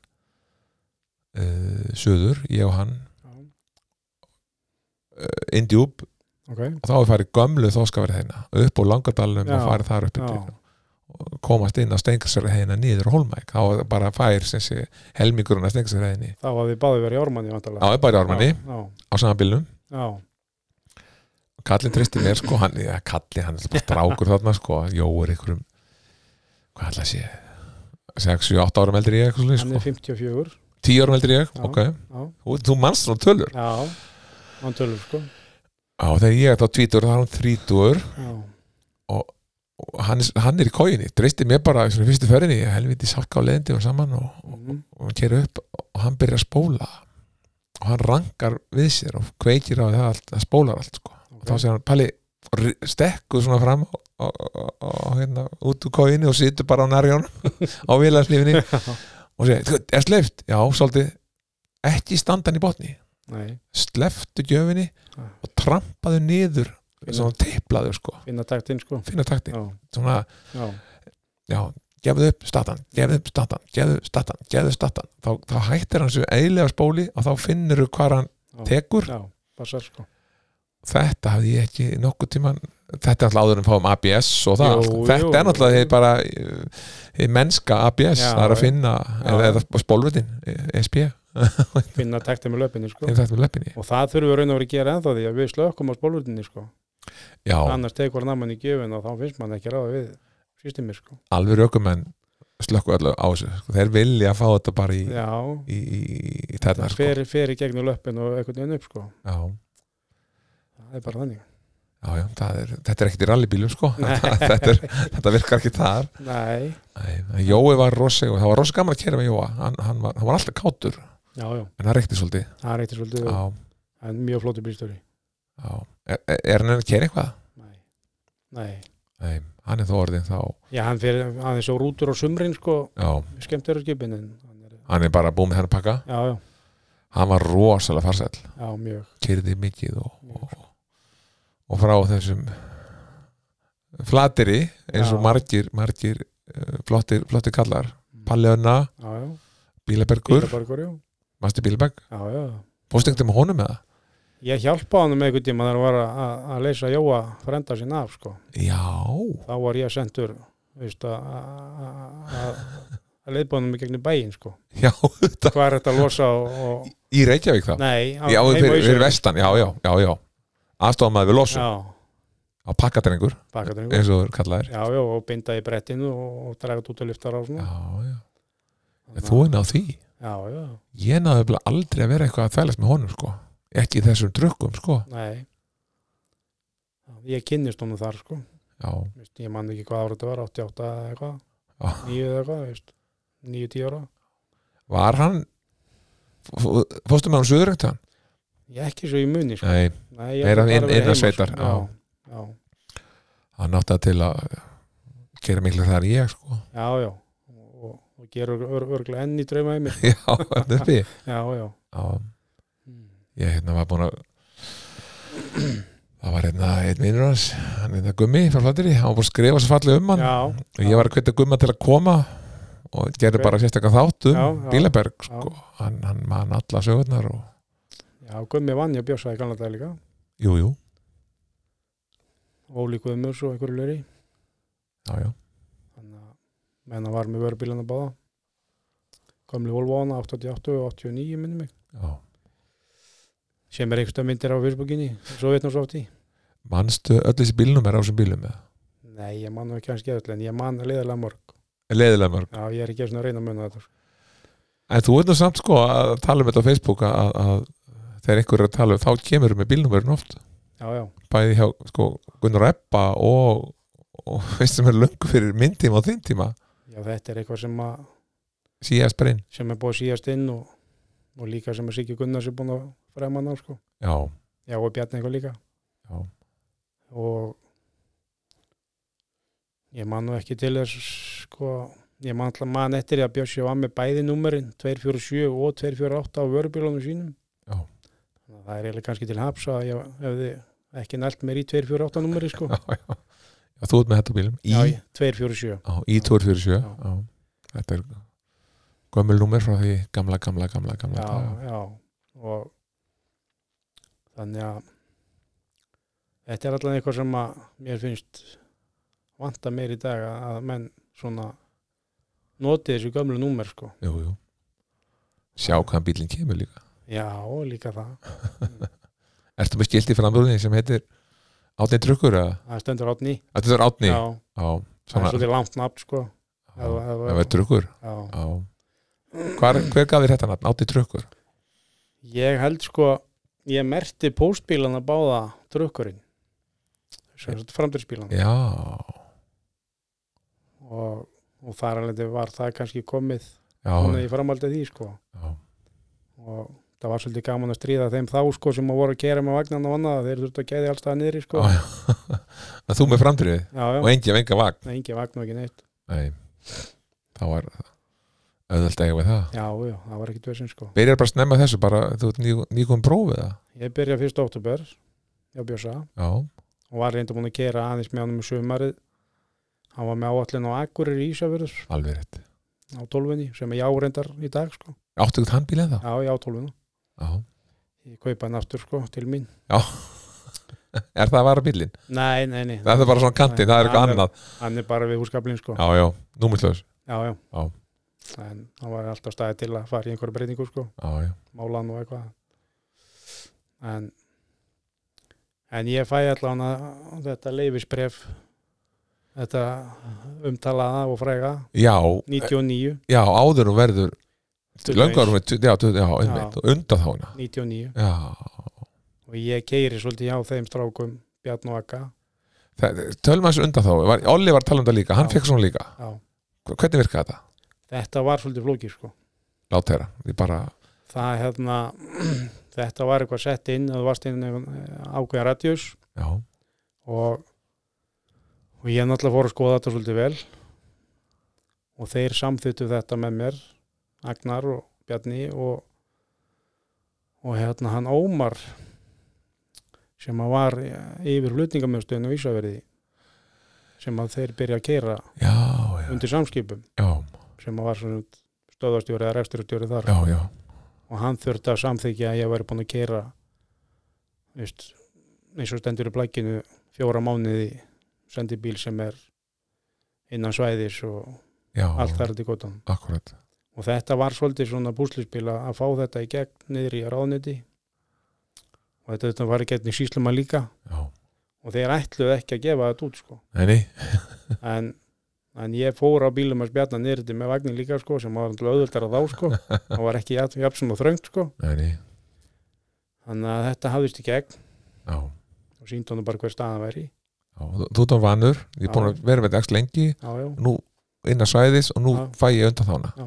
A: uh, söður, ég og hann
B: já,
A: uh, indjúb
B: ok,
A: og þá er farið gömlu þóskaverð þeina upp úr Langadalunum
B: Já.
A: og farið þar upp
B: já,
A: yfir og komast inn á Stengarsverð þeina niður á Holmæk, þá var bara fær sem sé helmingurinn að Stengarsverð þeinni
B: þá hafði báði verið í Ármanni
A: á
B: vantarlega
A: Öbæri Ármanni
B: já,
A: á sama bílnum
B: já,
A: og Kallin tristi mér sko, hann, ja, Kallin hann er bara strákur þarna sko, Jó er einhverjum hvað ætla að sé 6, 7, 8 árum eldri en ég eitthvað
B: já
A: slið,
B: hann er
A: sko.
B: 54
A: 10 árum eldri en ég,
B: Já.
A: ok
B: já,
A: þú, þú manst svona tölur
B: já, hann tölur sko
A: á, þegar ég er þá tvítur, þá er hann þrítur
B: já,
A: og hann, hann er í kóginni, tristi mér bara í svona fyrstu ferinni, helviti sálka á leðindi og saman og, og
B: mhm,
A: og hann keri upp og hann byrjar að spóla og hann rangar við sér og kveikir á það allt, það spólar allt sko. og þá
B: ok,
A: segir hann, Palli og ri- stekkur svona fram og, og, og hérna út úr kóinu og situr bara á nærjón á vilarsnýfinni og segir, "Þú, er sleift? Já, svolítið ekki standan í botni
B: nei,
A: sleftu gjöfinni
B: Ah.
A: og trampaðu niður eins og hann teiplaðu sko,
B: finna taktinn sko
A: finna takti
B: já,
A: svona,
B: já,
A: já, gefðu upp statan, gefðu upp statan, gefðu upp statan, gefðu upp statan þá, þá hættir hann svo eiginlega spóli og þá finnur þú hvað hann
B: Já.
A: tekur
B: já, passar sko
A: þetta hafði ég ekki nokkuð tíman þetta er alltaf áður en fáum ABS og það
B: Jú,
A: allt þetta
B: jú.
A: er náttúrulega hið bara eh, hið mennska ABS,
B: Já,
A: það er að
B: já.
A: finna eða,
B: Já.
A: eða spólvitin, ESP
B: finna taktinn með löpinni sko
A: þeim þetta með leppinni,
B: og það þurfum við raun og verið að gera ennþá því að við slökkum á spólvöldinni sko
A: já,
B: annars tekur naman í gjöfin og þá finnst mann ekki ráða við systemi sko
A: alveg rökumenn slökku öllu á þessu, sko. þeir vilja fá þetta bara í,
B: já,
A: í, í, í
B: það
A: tærnar, sko
B: fer, fer í gegnum löpin og einhvern veginn upp sko
A: já,
B: það er bara þannig
A: já, já, það er, þetta er ekkert í rallybílum, sko þetta, er, þetta virkar ekki þar
B: nei,
A: Nei, en Jói var rosi og það var rosi gaman að kera með Jóa hann, hann, var, hann var alltaf kátur
B: já, já,
A: en hann reykti svolítið
B: það er eitthvað svolítið
A: á,
B: en mjög flóttu bílstöri
A: á. Er, er- er hann enn að kera eitthvað?
B: nei, nei
A: Nei, hann er þó orðin þá
B: já, hann fer aðeins á rútur á sumrin sko
A: já,
B: skemmt eru skipin en hann er,
A: hann er bara búið með hennar pakka
B: já, já,
A: hann var rosalega farsæll,
B: já, mjög
A: kerði mikið og, og, og frá þessum flateri eins og
B: Já.
A: margir, margir uh, eh, flottir, flottir kallar
B: mm
A: Palli Önna,
B: já, já,
A: Bílabergur
B: bílabarkur, já,
A: Masti Bílaberg,
B: já, já.
A: bóstingtum með honum eða?
B: Ég hjálpaði hann með einhvern tíma þegar hann var að- að- að leysa Jóa frenda sinna af, sko.
A: Já,
B: Þá var ég sendur, veist, að- að að- að- að leiðbóðanum í gegnum bæinn, sko.
A: já, þetta
B: Hvað er þetta að losa og... og
A: í Reykjavík þá
B: nei, á,
A: Já, fyrir, fyrir
B: Austurlandi.
A: vestan, já, já, já, já aðstofað maður við losum
B: Já,
A: á pakkadrengur,
B: bakkadrengur.
A: eins og þú kallaðir
B: Já, já, og binda í brettinu og, og draga þetta út að lyftar á
A: Já,
B: svona.
A: já, en þú er náð því
B: Já, já,
A: Ég náðu bara aldrei að vera eitthvað að þvælast með honum sko. ekki í þessum drukkum sko.
B: nei. Já, Ég kynnist honum þar, sko.
A: Já,
B: Vist, ég man ekki hvað ára þetta var, 88 eða eitthvað,
A: já
B: 9 eða eitthvað, veist. 9-10 ára.
A: Var hann fó- Fórstu með hann söðurengtan?
B: Ég ekki svo í muni, sko.
A: Nei,
B: Nei, ég
A: meira inn-
B: held bara að vera
A: innan
B: heima,
A: sveitar, já.
B: sko. Já, já.
A: hann átti það til að gera miklu þar en ég sko.
B: Já, já og, og gerur ör, örglega enn í drauma heimir
A: Já, hann uppi
B: Já, já
A: Já, ég hérna var búin að Það var hérna einn vinnur hans hann hérna Gummi frá Flateri, hann var búin að skrifa svo fallið um hann
B: Já,
A: og ég var að hvetja Gumma til að koma og gerði
B: Ok.
A: bara sérstaklega þátt um
B: Já, já.
A: Bílaberg
B: Já.
A: sko. hann, hann man alla sögurnar og
B: já, Gummi vann ég bjósaði kannan dag líka
A: jú, jú,
B: Óli Guðmurs og einhverju löri
A: já, já,
B: Þannig að menna var með vörubílana báða Komli Volvoana 88 og 89 minni mig
A: já.
B: sem er einhversta myndir á Facebookinni svo veit hann svo oft í
A: manstu öll þessi bílnum er á þessum bílum eða?
B: Nei, ég man nú ekki hans geðall en ég man leiðilega mörg
A: leiðilega mörg
B: Já, ég er ekki svona að reyna að muna þetta sko.
A: En þú ert nú samt sko að tala um þetta á Facebook að, að þegar einhver er að tala um þá kemur með bílnúmerin oft
B: Já, já,
A: bæði hjá sko Gunnar Eppa og, og veist sem er löngu fyrir minn tíma og þinn tíma
B: já, þetta er eitthvað sem, að,
A: síðast brinn
B: sem er búið að síðast inn og, og líka sem að Siggi Gunnars er búin að fremma ná sko
A: Já,
B: Já, og Bjarni eitthvað líka
A: Já.
B: Og ég man nú ekki til þess sko, ég man alltaf man eftir því að Bjössi var með bæði númerin 247 og 248 á vörubílunum sínum
A: Já.
B: Þannig að Það er eiginlega kannski til haps að ég hefði ekki nælt mér í 248 númeri sko
A: já, já, já Þú ert með þetta bílum Í,
B: Já,
A: já,
B: ég- 247
A: í 247
B: Já.
A: já. Þetta er gömul númer frá því gamla, gamla, gamla,
B: Já,
A: gamla daga.
B: já og þannig að þetta er allan eitthvað sem að mér finnst vanta mér í dag að að menn svona noti þessu gömlu númer sko
A: Jú, jú Sjá hvaðan bílinn kemur líka
B: já, og líka það,
A: Ertu með skilti framrúðinni sem heitir Átni Trukkur eða?
B: það stendur átni
A: Þetta er Átni
B: já,
A: Já,
B: það
A: svona
B: er svolítið langt nafn sko
A: Já,
B: Ef- ef-
A: Það var trukkur
B: já.
A: Já. Hvar, Hver gaf þér þetta nafn? Átti trukkur
B: ég held sko ég merti póstbílan að báða drukkurinn framdurspílan
A: Já,
B: og, og þar alveg var það kannski komið
A: já,
B: þannig ég framaldið því sko
A: já,
B: og það var svolítið gaman að stríða þeim þá sko sem að voru að kera með vagnan og annað þeir þurftu að gæði allstað niðri sko
A: já,
B: já,
A: já. Að Þú með framdrifið
B: já,
A: og engi af enga vagn
B: Nei, engin vagn og ekki neitt
A: Nei, þá var auðvöld eiga við það
B: já, já, það var ekki dvesin sko
A: Byrjar bara að snemma þessu, bara þú ert ný, nýgum prófið það
B: ég byrja fyrst óttúber hjá Bjösa
A: Já,
B: og var reynda búin að kera aðeins með honum í sumarið hann var með áallin á Akurir í Ísafjörður
A: alveg rétt
B: á tólfunni sem ég á reyndar í dag sko
A: Áttu ekkert handbíl en þá?
B: já, ég á tólfunna
A: Já,
B: ég kaupa hann aftur sko til mín
A: er það að vara bílinn?
B: nei, nei, nei,
A: Það er bara svona kantinn, það er eitthvað
B: Nei,
A: annað
B: hann er bara við húskablin sko
A: Já, já, númurslaus
B: já, já,
A: Já.
B: en hann var alltaf staðið til að fara í einhverja breytingu sko
A: Já, já,
B: málan og eitthvað en en ég fæ allan að þetta leifisbref þetta umtalaða og fræga
A: já,
B: 99,
A: já áður og verður
B: Tuttugu og
A: Löngar,
B: eins.
A: já, tu- já, einmitt, og undan hérna. þána
B: 99
A: Já,
B: og ég keiri svolítið hjá þeim strákum Bjarn og Akka
A: Það- Tölum aðeins undan þá, var, Olli var að tala um það líka, hann
B: Já.
A: fekk svona líka
B: já.
A: Hva- Hvernig virkaði þetta?
B: þetta var svolítið flókið sko
A: Lát þeirra, ég bara,
B: það hérna þetta var eitthvað sett inn að þú varst inn eh, ákveðin radjus
A: já,
B: og, og ég náttúrulega fór að skoða þetta svolítið vel og þeir samþýttu þetta með mér Agnar og Bjarni og, og hérna hann Ómar sem að var eh, yfir hlutningamjöðstöðinu á Ísafjörði sem að þeir byrja að keira
A: já, já,
B: undir samskipum
A: já,
B: sem var svona stöðastjóri eða refsturstjóri þar
A: já, já,
B: og hann þurfti að samþykja að ég væri búin að kera veist, eins og stendur í blækinu fjóra mánuði sendi bíl sem er innan svæðis og
A: já
B: allt þar til gotan
A: akkurat,
B: og þetta var svolítið svona búslispil að að fá þetta í gegn niður í ráðniti og þetta, þetta var í gegn í sísluma líka
A: já,
B: og þeir ætluðu ekki að gefa þetta út sko
A: neini
B: en, en ég fór á bílum að spjarna nýrði með vagnin líka sko sem var náttúrulega auðvöldar að þá sko og var ekki jafn, jafn sem og þröngt sko
A: neini,
B: þannig að þetta hafðist í gegn
A: já,
B: og sínt honum bara hver staðan væri í.
A: já þú, þú ert á vanur, ég er búin
B: Já.
A: að vera með dags lengi,
B: já, já,
A: nú innan svæðis og nú
B: Já.
A: fæ ég undan þána
B: já,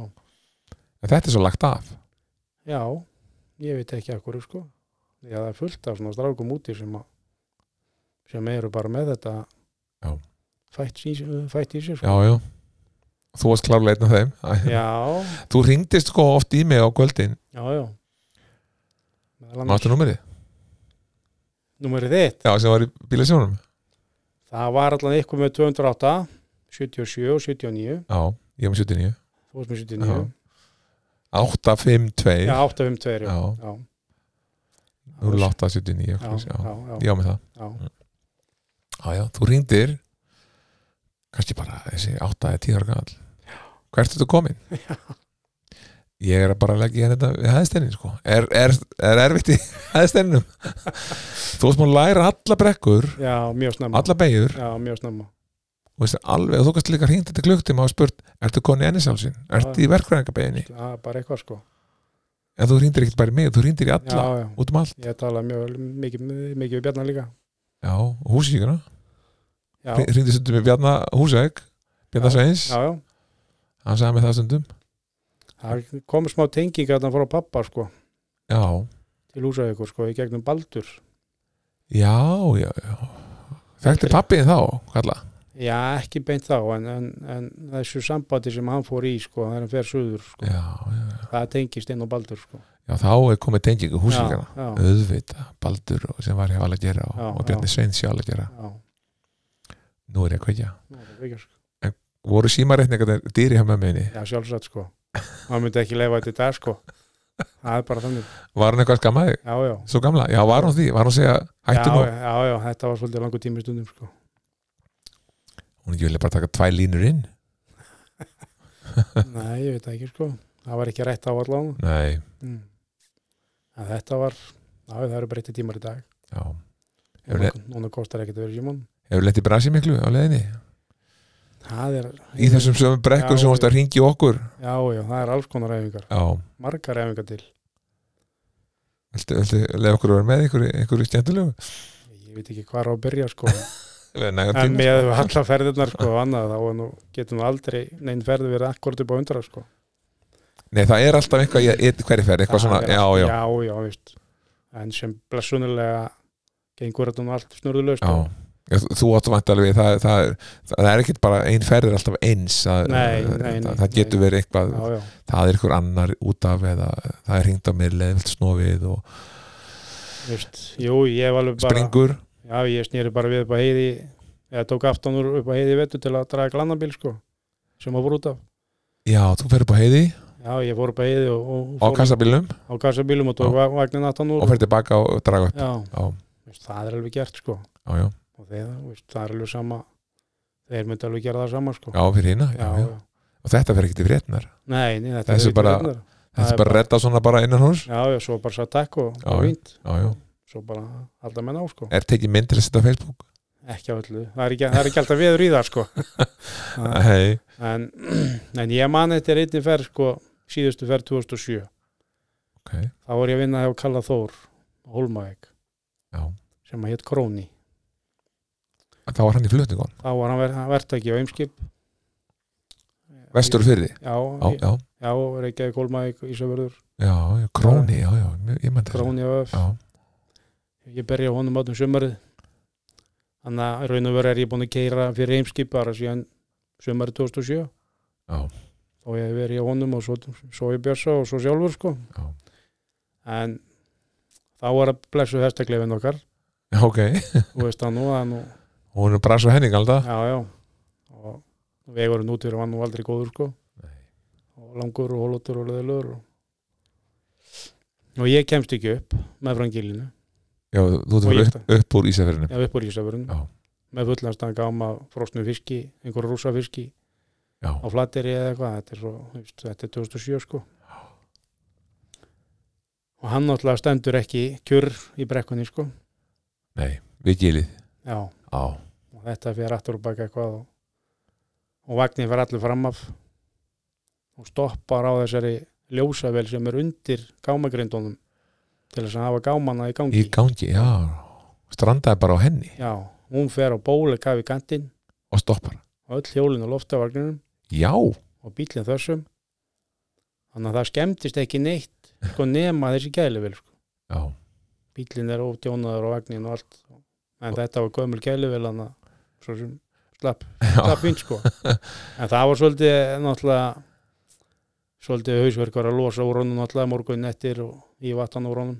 A: en þetta er svo lagt af
B: já ég veit ekki akkur sko já það er fullt af svona strákum úti sem að sem eru bara með þetta
A: Já.
B: fætt, í, fætt í sér
A: já,
B: sko
A: já, þú varst klárlega einn af þeim Æ,
B: já,
A: þú ringdist sko oft í mig á kvöldin
B: já, já. Meðal annars-
A: mástu númerið,
B: Númerið þitt
A: já, sem var í bílasjónum
B: það var allan eitthvað með 208 77 og 79
A: já, ég var með 79
B: þú varst með 79
A: 852
B: Já, 852 já.
A: Já.
B: Já.
A: nú er 879
B: já,
A: já, já,
B: já, já,
A: já, með það
B: já,
A: já, já, þú ringdir kannski bara þessi 8 eða 10 ára gamall hvert er þú komin? ég er bara að leggja hérna þetta við hæðstennin sko er, er, er erfitt í hæðstenninum þú varst múin að læra alla brekkur
B: já, mjög snemma
A: alla beigur
B: Mm. Já, mjög snemma
A: og veist, alveg, og þú kannski líka hringt þetta klukktíma og spurt, ertu koni ennisálsinn, ertu í verkfræðingabeginni
B: Já, bara eitthvað sko
A: en þú hringdir ekkert bara í mig, þú hringdir í alla
B: Já, já,
A: út um allt,
B: ég tala mjög mikið, mikið við Bjarnar líka
A: já, og húsíkina
B: Já, já,
A: hringdi stundum með Bjarna Húsæk Bjarna Sveins,
B: já,
A: hann sagði með það stundum
B: það kom smá tenging að það fór á pappa sko
A: já,
B: til húsavíkur sko, í gegnum Baldur
A: já, já, já þekkti pappiðin þá, kalla
B: Já, ekki beint þá, en, en, en þessu sambandi sem hann fór í sko, þegar hann fer suður sko,
A: já, já,
B: það tengist inn á Baldur sko
A: já, þá er komið tengingu húsíkina
B: Já, já,
A: auðvita, Baldur og sem var hjá Alagjera og,
B: Já,
A: og Bjarni
B: já.
A: Sveins hjá Alagjera
B: já,
A: nú er ég að kveikja,
B: Nú, það er ekki, sko.
A: voru símareitningar dýri hjá mömminni,
B: já sjálfsagt sko hann myndi ekki leifa þetta í dag sko það er bara þannig,
A: var hann eitthvað skammaði
B: já, já
A: Svo gamla, já var hún því, var hún að segja hættu
B: já,
A: nú,
B: já, já, þetta var svolítið langur tími stundum sko.
A: hún ekki vilja bara taka tvæ línur inn
B: Nei, ég veit það ekki sko Það var ekki rætt á allan
A: Nei,
B: mm. En þetta var Já, það eru breytti tímar í dag
A: já, Hefur
B: Núna, núna kostar ekkert að vera símón
A: hefur lett í brasi miklu á leiðinni
B: Það er
A: Í þessum sömu brekkum
B: Já,
A: sem hún að hringi okkur
B: Já, já, það er alls konar æfingar
A: Já,
B: Margar æfingar til
A: viltu, viltu leið okkur að vera með einhverju, einhverju stjæntulegu
B: Ég veit ekki hvað á að byrja sko En
A: En
B: með alla ferðirnar sko og annað þá er nú, getum við aldrei neinn ferði verið akkord upp á undra sko
A: Nei, það er alltaf eitthvað, ég, ég, hverju ferð, eitthvað
B: Það
A: svona,
B: er
A: já,
B: allt-
A: já,
B: Já, já, veist En sem blessunilega gengur þetta nú allt snurðulaust sko.
A: já Já, þú- Þú áttu vant alveg, það, það, er- það er ekkit bara ein ferð er alltaf eins það,
B: Nei,
A: það,
B: nei, nei,
A: það, getur verið eitthvað
B: já, já,
A: það er ykkur annar út af eða það er hringt á mér leðvilt snofið og
B: veist Jú, ég hef alveg bara
A: springur
B: Já, ég snýri bara við upp á heiði eða tók aftan úr upp á heiði vettu til að draga glannabíl sko sem að voru út af
A: Já, þú ferð upp á heiði
B: Já, ég fór upp á heiði og, og
A: á
B: fór
A: kassabílum
B: á kassabílum og tók
A: Já.
B: va- vagnin aftan úr
A: og ferð tilbaka og draga upp
B: Já,
A: Já,
B: veist, það er alveg gert sko
A: já, já,
B: og þeir, veist, það er alveg sama þeir myndi alveg gera það sama sko
A: já fyrir hína já, já. og þetta fer ekkert í fréttnar
B: Nei, nei, þetta
A: Þessu
B: er
A: bara-
B: vitnar.
A: þetta
B: Það
A: er bara að redda svona bara innan hús
B: Já, já, svo bara satt takk og,
A: Já,
B: og
A: já.
B: fínt
A: Já, já,
B: Svo bara halda menn á sko
A: er tekið mynd til að setja á Facebook
B: Ekki á öllu, það er ekki, það er ekki alltaf viður í það sko Það-
A: Nei,
B: en, en ég man þetta er einnig ferð sko síðustu ferð 2007
A: ok,
B: þá var ég að vinna hjá Kalla Þór á Hólmavík
A: já
B: sem að hétt Króni
A: þá var hann í flutningun,
B: þá var hann, ver hann verktæki á Eimskip
A: vestur fyrir
B: já,
A: Já,
B: já,
A: já,
B: já Reykjavík Hólmavík Ísafjörður,
A: já, já, króni, já, já, ég- ég mætti
B: Króni og öf
A: Já,
B: ég berja á honum áttum sömarið þannig að í raun og veru er ég búin að keira fyrir Eimskip bara síðan sömarið 2007
A: já,
B: og ég hef verið hjá honum og svo, svo ég bjössa og svo sjálfur sko
A: já,
B: en þá var að blessu hestaklefin okkar
A: já, ok
B: þú veist það nú að nú
A: hún Ah. er brasa henning alltaf
B: Já, já og vegurinn út fyrir var nú aldrei góður sko
A: Nei.
B: langur og holotur og leðilur og, og ég kemst ekki upp með frangilinu,
A: Já, þú ert að
B: Og ég-
A: fara upp, upp úr Ísafirinu
B: já upp úr Ísafurinn
A: Já.
B: með fullanstanga áma frosnu fiski einhverja rúsa fiski
A: Já,
B: á flateri eða eitthvað þetta er, svo, þú veist, þetta er 2007 sko og hann náttúrulega stendur ekki kjur í brekkunni sko
A: nei, við gilið
B: já,
A: Já,
B: og þetta fyrir aftur og baka eitthvað og, og vagnir fyrir allir fram af og stoppar á þessari ljósavel sem er undir gámagrindunum til þess að hafa gámana í gangi
A: í gangi, já Strandaði bara á henni
B: já, hún fer á bóli kafi kantinn
A: og stoppar
B: og öll hjólin á loftavagninum
A: Já,
B: og bílinn þessum þannig að það skemmtist ekki neitt sko nema þessi gæluvel sko.
A: já,
B: bílinn er ódjónaður á vagnin og allt en þetta var gömul gæluvel hann að svo sem slapp
A: já,
B: það fínt sko en það var svolítið náttúrulega svolítið hausverkar að losa úr honum náttúrulega morgun eftir og í vattan úr honum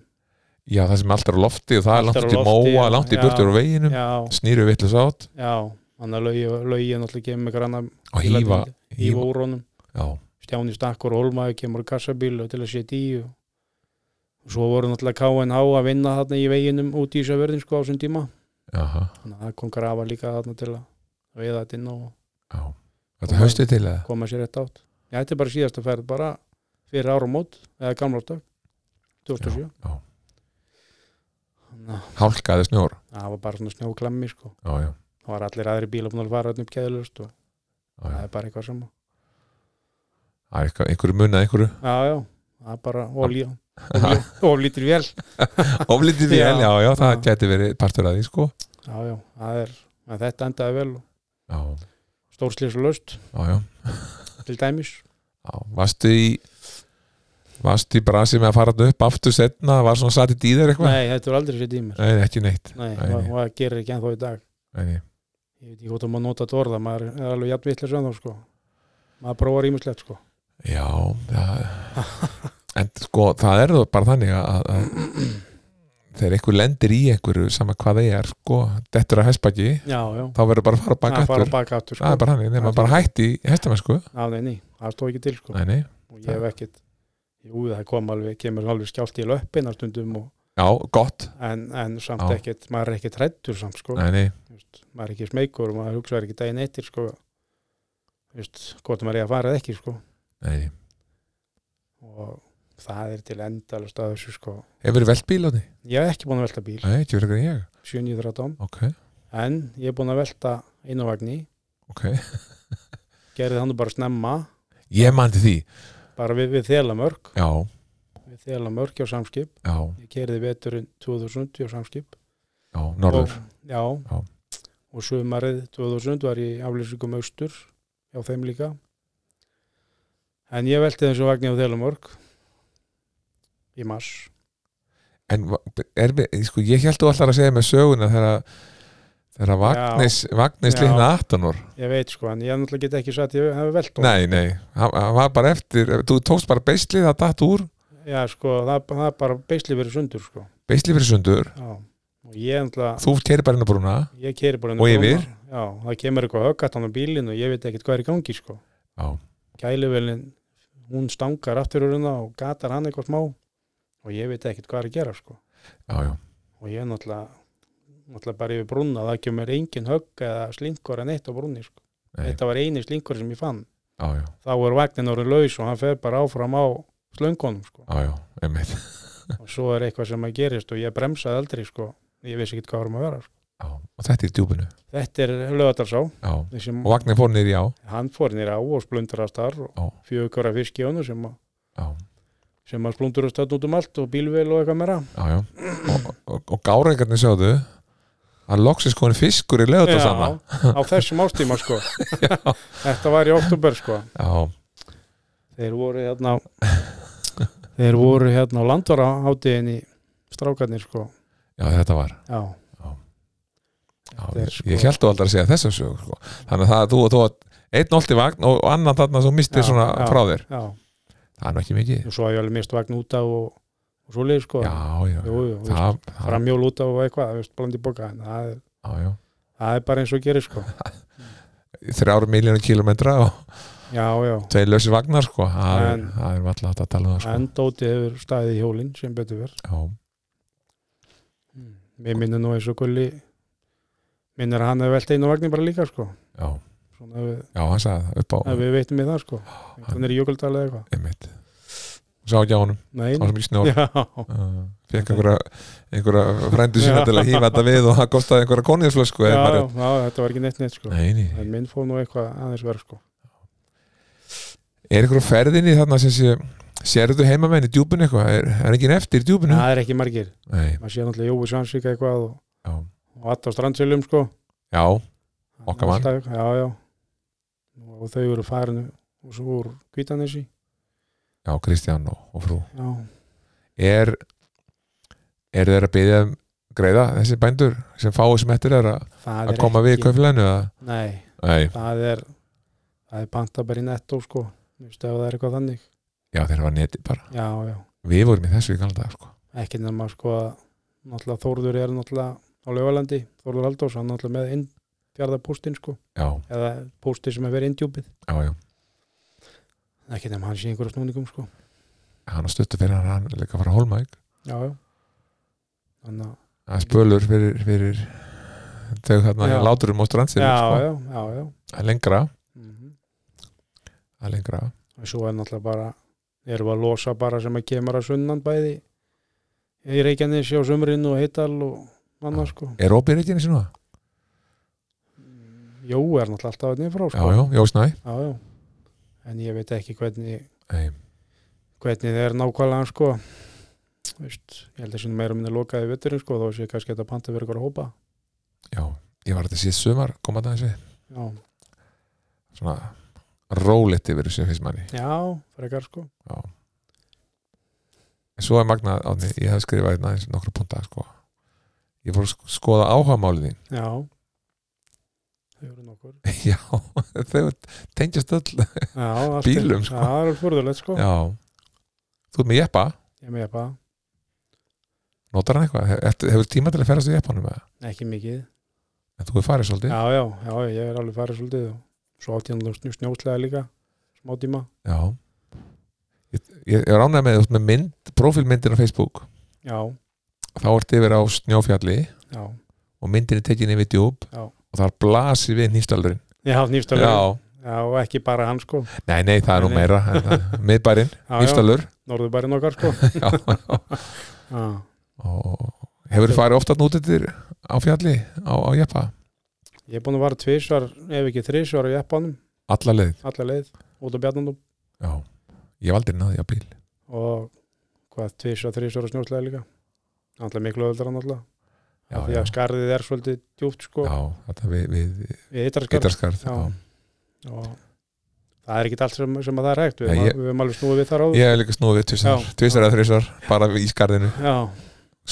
A: já það sem allt er á lofti og það er
B: Allt er
A: langt út
B: á
A: í
B: lofti,
A: móa,
B: já.
A: langt í
B: Já.
A: burtur á veginum
B: já,
A: snýru vitlis átt
B: já, hann að laugi laugi náttúrulega kemur með granna
A: og hýfa,
B: hýfa
A: hýfa
B: úr honum
A: Já,
B: Stjáni Stakkur og Holmaði kemur í kassabíl og til að setja í og og svo voru náttúrulega KNH að vinna þarna í veginum út í Ísafjörðin sko á þessum tíma
A: já,
B: þannig að það kom grafa líka þarna til að veiða þetta inn og
A: já Þetta haustið til eða?
B: koma sér rétt átt Já, þetta er bara síðasta ferð bara fyrir áramót eða gamlástag 2007
A: Já, já.
B: Þannig að
A: Hálkaði snjór
B: það var bara svona snjóklammi sko
A: Já, já,
B: það var allir aðri bíla búin að fara þarna upp keðilust og
A: já, já.
B: það er bara eitthvað sama
A: Það er eitthvað- einhverju munað einhverju
B: Já, já, það er bara olíu oflítur vél
A: Oflítið
B: Já.
A: vel, já, já, það
B: Já.
A: gæti verið partur að því, sko
B: Já, já, það er, að þetta endaði vel og
A: Já,
B: stórslis löst
A: já, já
B: til dæmis.
A: Já, varstu í varstu í brasi með að fara þarna upp aftur setna, var svona satt í dýðar eitthvað
B: Nei, þetta er aldrei sér dýmur.
A: Nei, ekki neitt
B: Nei,
A: Nei,
B: og
A: nei.
B: og það gerir ekki ennþá í dag.
A: Nei, nei.
B: Ég veit ekki hvort að maður nota þetta orða, maður er alveg jafnvittlega sem þá, sko. Maður prófar ímislegt, sko.
A: Já, já En sko, það er þó bara þannig að, að þegar einhver lendir í einhverju sama hvað það er, sko, dettur að hestbaki
B: Já, já.
A: þá verður bara að fara baka
B: Það fara
A: aftur
B: baka aftur, sko.
A: Það er bara þannig, nema
B: Það er
A: bara hætti hestamenn, sko
B: Já, nei, nei, það stóð ekki til, sko.
A: Nei, nei,
B: Og ég hef ekkit, jú, það kom alveg, kemur alveg skjált í löppin að stundum, og,
A: já, gott
B: en, en samt
A: Já.
B: ekkit, maður er ekkit hrættur samt, sko.
A: Nei, nei,
B: Vist, maður er ekki smeykur og maður hugsaður ekki daginn eittir, sko. Vist, hvort maður er að fara eða ekki, sko.
A: nei
B: og það er til endalast að þessu sko
A: Hefur verið velt bíl á því?
B: ég hef ekki búin að velta bíl,
A: Nei, ekki verið ekki ég
B: 7.13
A: Ok,
B: en ég hef búin að velta inn á vagni
A: ok
B: gerði hann bara snemma,
A: Ég mandi því,
B: bara við, við þelamörk
A: já,
B: við þelamörk á samskip
A: já,
B: ég gerði veturinn 2000 á samskip
A: já, norður
B: og, já,
A: Já.
B: og sumarið 2000 var ég í aflýsingum austur á þeim líka en ég velti þessu vagni á þelamörk í mars
A: En va- er, við- sko, ég held þú allar að segja með söguna þegar þegar Vagnis, Vagnis
B: Já.
A: lína 18 ár
B: ég veit sko, en ég náttúrulega get ekki sagt ég hef velt honum.
A: Nei, nei, hann hann var bara eftir þú tókst bara beislið að datt úr
B: Já, sko, það, það er bara beisli verið sundur, sko.
A: beislið fyrir sundur,
B: Já. Og ég ennlega,
A: þú keiri bara inn á brúna
B: ég keri bara inn á
A: Og
B: brúna.
A: yfir?
B: Já, það kemur eitthvað höggat hann á bílinn og ég veit ekkert hvað er í gangi, sko.
A: Já.
B: Gæluvelin, hún stangar aftur úr hérna og gatar hann eitthvað smá og ég veit ekkert hvað er að gera, sko.
A: Já, já,
B: Og ég náttúrulega, náttúrulega bara yfir brúna, það kemur engin högg eða slinkur en eitt á brúni, sko.
A: Nei.
B: Þetta var eini slinkur sem ég fann.
A: já, já,
B: Þá er vagnin orðin laus og hann fer bara áfram á slöngunum, sko.
A: já, já, einmitt
B: og svo er eitthvað sem að gerist og ég bremsaði aldrei sko ég vissi ekki hvað varum að vera sko.
A: já. og þetta er í djúpinu
B: þetta er lögatarsá
A: já.
B: sem
A: og Vagnis fór niður í á
B: hann fór nýra á og splundrast þar
A: Já.
B: og fjögur að fisk í honum sem, að-
A: já,
B: sem að splundrast þarna út um allt og bílvel og eitthvað meira
A: já, já og, og, og gáreikarnir sjáðu að loksins komin fiskur í lögðu sama
B: á þessum ástíma sko þetta var í oktober sko
A: já,
B: þeir voru hérna á- þeir voru hérna á landvaraháttiðinni strákarnir sko
A: já, þetta var
B: já,
A: Já,
B: Þetta er
A: ég,
B: sko-
A: ég held þú aldrei að segja þessa sög sko. þannig að það, þú, þú, þú einn olti vagn og og annan þarna sem þú mistir
B: Já,
A: svona
B: já.
A: frá þér
B: já
A: það er nú ekki mikið já,
B: og svo hafði ég alveg mist vagn út af og, og svo leið sko
A: já,
B: jú, jú,
A: það, það, það,
B: framjól út af og eitthvað, þú veist, blandi boka en það er,
A: já, já.
B: það er bara eins og gerir sko
A: þrjár miljónu kilometra og,
B: já, já
A: tveir lösi vagnar sko það er,
B: En-
A: það er alltaf hægt að tala um það sko
B: en Dóti hefur staðið í hjólinn sem betur verð
A: já,
B: mér minnir nú eins og gulli minnir að hann hefur velt einu vagnin bara líka sko
A: já,
B: svona ef við,
A: já, hann sagði það upp á
B: ef við veitum við það sko hann er í Jökuldal eða eitthvað
A: einmitt sá ekki á honum,
B: Nei,
A: sá sem ekki snjór
B: já,
A: uh, fekk einhverja, einhverja frændi sína til að hýfa þetta við og það kostaði einhverja konjarsflösku
B: já,
A: eða
B: já,
A: maður
B: þetta var ekki neitt neitt sko
A: nei, nei.
B: en minn fór nú eitthvað aðeins verð sko
A: er einhverju ferðinni þarna sem sé sérðu heimamenn í djúpinu eitthvað er, er enginn eftir í djúpinu
B: það er ekki margir,
A: nei,
B: maður sé náttúrulega Jói Svansvík eitthvað og,
A: já,
B: og alltaf strandsilum sko
A: já,
B: Hann er
A: Okkar mann.
B: alltaf- já, já. og þau eru farin og svo úr Kvítanesi
A: já, Kristján og, og frú
B: já,
A: er er þeir að byggja um greiða þessi bændur sem fá þessum eftir er að,
B: það
A: að
B: er
A: koma við í
B: ekki
A: kauflæðinu
B: nei,
A: nei,
B: það er það er panta bara í netto sko Þú veist, ef það er eitthvað þannig
A: já þeir hafa neti bara
B: já, já,
A: við vorum í þessu í galda sko.
B: ekki nema sko að náttúrulega Þórður er náttúrulega á Laugalandi, Þórður Haldós hann er náttúrulega með inn fjárðapústin sko
A: já,
B: eða pústi sem er verið indjúpið
A: já, já,
B: ekki nema hann sé í einhverja snúningum sko
A: hann á stuttu fyrir hann hann er líka að fara að holma ekki
B: já, já þannig að
A: það er spölur fyrir, fyrir þau þarna
B: Já.
A: láturum og strandsir
B: já,
A: sko.
B: já, já, já.
A: Það er lengra,
B: Mm
A: það er lengra
B: og svo er náttúrulega bara erum við að losa bara sem að kemur að sunnan bæði í Reykjanesi á sumrinu og Heital og annars sko
A: er opið reikinu sinna?
B: Jó er náttúrulega alltaf að frá
A: já,
B: sko
A: já, já, snæ
B: Já, já. en ég veit ekki hvernig
A: Nei.
B: hvernig það er nákvæmlega sko Veist, ég held að sinni meira minni lokaði vetturinn sko þá sé kannski þetta panta verið ykkur að hópa
A: já, ég var þetta síðast sumar koma þetta þessi,
B: já,
A: svona rólegt yfir þessu fyrst manni
B: já frekar sko
A: Já. En Svo er magnað átni, ég hef skrifað hérna aðeins nokkru punta sko. Ég fór að sk- skoða áhagamálið þín
B: já þau eru nokkur
A: Já, þau tengjast öll
B: já, allt er-
A: Bílum, sko.
B: já, það er alveg furðulegt sko
A: Já, þú ert með jeppa
B: ég með bara,
A: Notar hann eitthvað, Ertu- hefur tíma til að ferast í jeppanum eða?
B: ekki mikið
A: En þú er farið svolítið
B: já, já, já, ég er alveg farið svolítið og svo átti hann ljóst snjóslega líka smá tíma,
A: Já. Ég, ég er ánægð með, þú ert með mynd Profilmyndin á Facebook
B: já,
A: Þá ert yfir á snjófjalli
B: já
A: Og myndin er tekin yfir djúb
B: Já.
A: Og þar blasir við nýstaldurinn
B: ég hafði nýfstöldur, já.
A: Já,
B: og ekki bara hann sko
A: nei, nei, það er nú
B: Nei, nei.
A: meira en það- Miðbærinn,
B: já, já,
A: nýstaldur
B: norðurbærin okkar sko
A: Já, já
B: já,
A: og hefur þið farið ofta út eftir á fjalli á, á jeppa
B: ég er búin að vara tvisvar ef ekki þrisvar á jeppanum,
A: alla leið
B: alla leið út á bjarnandum
A: já. ég hef aldrei náði á bíl
B: og hvað, tvisvar, þrisvar á snjóslega líka alltaf miklu öðuldra náttúrulega
A: Já,
B: af því
A: já.
B: að sko- skarðið er svolítið djúpt sko,
A: já, þetta við, við
B: við hittar skarð
A: geitarskarð
B: já, og það er ekki allt sem, sem að það er hægt við,
A: Nei,
B: Nei,
A: ég-
B: ég... við erum alveg snúið við þar áður
A: ég hef líka snúið við tvisar,
B: Já.
A: tvisar eða þrisar bara í skarðinu,
B: já,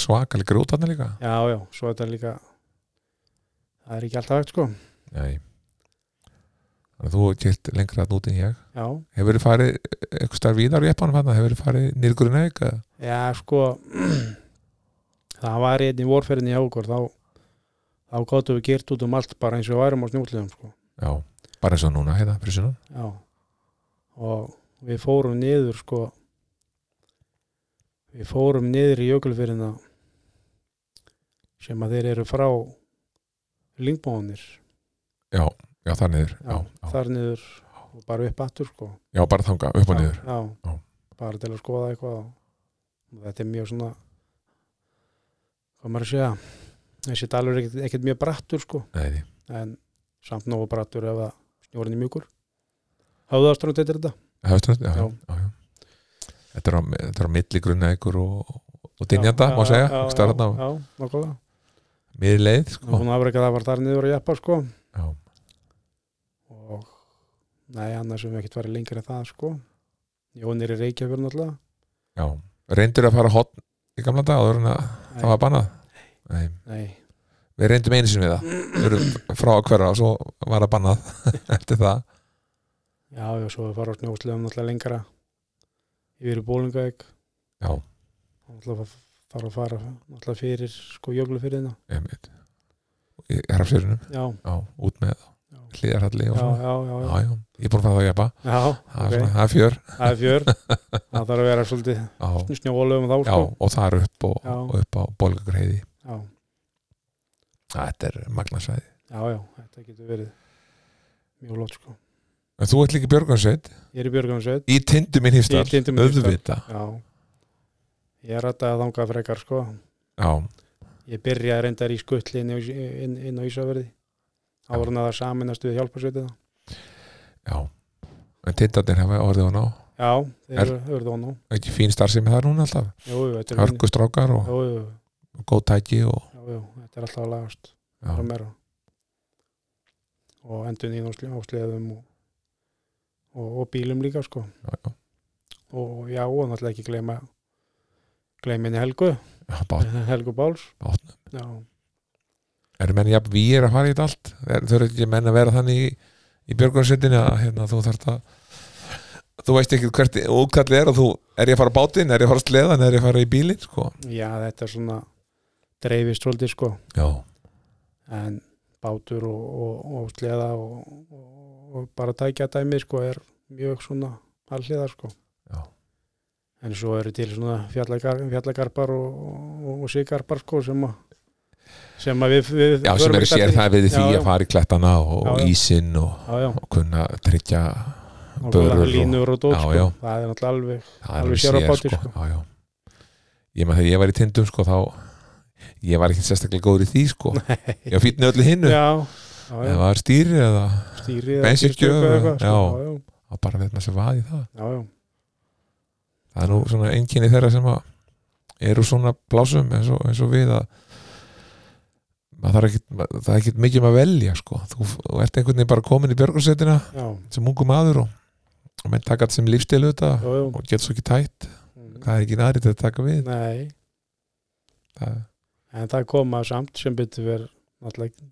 A: svakalega grút hann líka
B: Já, já, svo þetta er líka það er ekki alltaf hægt sko
A: nei þannig að þú kilt lengra að núti en ég
B: Já,
A: hefur þið farið eitthvað starf víðar á jeppanum hann hefur þið farið nýrgurinn eða
B: já sko það var einn í vorferðinni hjá okkur þá, þá gáttum við gert út um allt bara eins og við værum á snjúkliðum sko
A: já, bara eins og núna hérna, fyrir sunnan
B: Já og við fórum niður sko við fórum niður í jökulfyrina sem að þeir eru frá língbóðanir
A: já, þar niður, já,
B: já,
A: já,
B: þar niður og bara upp aftur sko
A: já bara þanga, upp og
B: Já,
A: niður
B: já,
A: Já.
B: bara til að skoða eitthvað og þetta er mjög svona hvað maður að segja þessi dalur er ekkert, ekkert mjög brattur sko
A: nei, nei.
B: en samt nógu brattur ef að snjórinni mjúkur höfðaströnd heitir þetta
A: Höfströnd, já, já.
B: Já.
A: Já, Þetta er á, þetta er á milli grunnækur og, og dynjanda,
B: Já,
A: má
B: já,
A: segja
B: já,
A: Það er hann á
B: já, nokkulega
A: miðri leið sko.
B: hún afrekka það var þar niður að jeppa sko
A: já,
B: og nei annars hefum við ekkert farið lengur en það sko Jón er í Reykjavík náttúrulega
A: já. Reyndur að fara hotn í gamla dag áður en að það var bannað Nei.
B: nei,
A: Við reyndum einu sinni við það Við erum frá að hverfa og svo var það bannað eftir það
B: já, já, svo við farið á snjóslegum náttúrulega lengra yfir í Bólingavík
A: Já,
B: náttúrulega þarf að fara náttúrulega fyrir sko jöglufyrðina
A: einmitt Í herrafsjörunum,
B: já,
A: já, út með
B: Já.
A: hlýðarhalli
B: já,
A: og svona
B: já, já, já.
A: Já, já, ég er búin að fara það að gefa
B: já,
A: það
B: ok,
A: er svona- það er fjör
B: það er fjör það þarf að vera svolítið
A: á,
B: snjóðalöfum þá
A: já,
B: sko.
A: og það er upp og,
B: Já.
A: og upp á bólgagreiði
B: já,
A: þetta er magnasæði
B: já, já, þetta getur verið mjög lót sko
A: en þú ert líka björgansveit
B: ég er í Björgansveit
A: í tindu minn hýstar,
B: Tindum í Hnífsdal.
A: auðvita
B: já, ég er rætt að þanga frekar sko
A: já,
B: ég byrjaði reyndar í skutli inn, á Ís- inn, inn á Ísafjörði áður en að það saminast við hjálparsveitina
A: já en tindarnir hafa orðið og ná
B: já,
A: Er-
B: þeir eru það nú
A: ekki fín starfsemi þar núna alltaf
B: jú, jú, þetta er fín-
A: hörkustrákar og
B: jú, jú,
A: góð tæki og
B: jú, jú, þetta er alltaf að lagast
A: já,
B: meira og meira og endur nýðum á sleðum og, og, og bílum líka sko
A: já, já,
B: og já, og náttúrulega ekki gleyma gleyminni Helgu
A: já, bát,
B: Helgu Báls
A: bátnum
B: já,
A: eru menn jafn við að fara í þetta allt Er- þau eru ekki menn að vera þannig í, í björgunarsveitinni að hérna, þú þarft að þú veist ekki hvert útkallið er og þú, er ég að fara á bátinn, er ég að fara á sleðan er ég að fara í bílinn, sko
B: já, þetta er svona dreifist svolítið sko
A: já,
B: en bátur og, og, og sleða og, og, og bara tækja dæmi sko er mjög svona alliða sko
A: já,
B: en svo eru til svona fjallagar, fjallagarpar og, og, og sigarpar sko sem að sem að við, við
A: já
B: förum
A: sem er
B: ekki
A: sér
B: allir í.
A: það við því
B: Já, já.
A: að fara í klettana og,
B: Já, já.
A: og ísinn og,
B: já, já,
A: og kunna tryggja
B: og
A: börur
B: börur,
A: og-
B: línur og dót
A: Já,
B: sko.
A: já.
B: það er náttúrulega alveg
A: það
B: Alveg
A: alveg
B: sér á báti,
A: sko.
B: sko.
A: Já, já. ég maður þegar ég var í tindum sko þá ég var ekki sérstaklega góður í því sko ég var fýtni öllu hinnu
B: já, já,
A: eða
B: já,
A: var stýri eða
B: stýrið eða
A: Bensíngjöf,
B: stýristjóka eða eitthvað,
A: já.
B: sko, já, já,
A: að bara veit maður sem vaði það
B: já, já,
A: það er nú svona einkenni þeirra sem að eru svona blásum eins og, eins og við að maður þarf ekkit, maður, það er ekkit mikið um að velja sko þú, þú ert einhvern veginn bara komin í björgursetina
B: já,
A: sem ungu maður og, og menn taka þetta sem lífstilu þetta
B: já, já.
A: og getur svo ekki tætt
B: Mm.
A: það er ekki nærið að taka við
B: nei,
A: það,
B: en það koma samt sem betur verð náttúrulega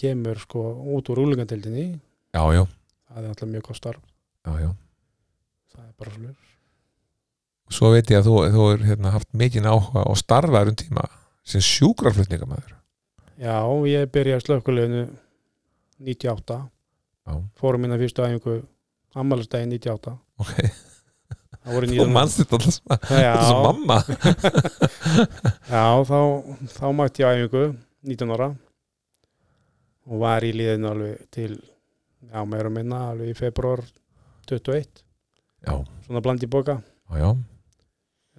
B: kemur sko út úr úlingadeildinni
A: já, já,
B: það er náttúrulega mjög gott starf
A: já, já
B: það er bara slur
A: svo veit ég að þú, þú er hérna, haft mikinn áhuga og starfaður um tíma sem sjúkraflutningamæður
B: já, ég byrjaði slökkuleginu 98
A: Já.
B: fórum minna um fyrstu æfingu ammælistæði 98
A: ok,
B: það voru
A: þú
B: 19
A: manst þetta alltaf svona þetta er svo
B: já,
A: mamma
B: já þá, þá mætti ég á æfingu 19 ára og var í liðinu alveg til já, meira og minna alveg í februar 21
A: já,
B: svona blandi boka
A: já, já,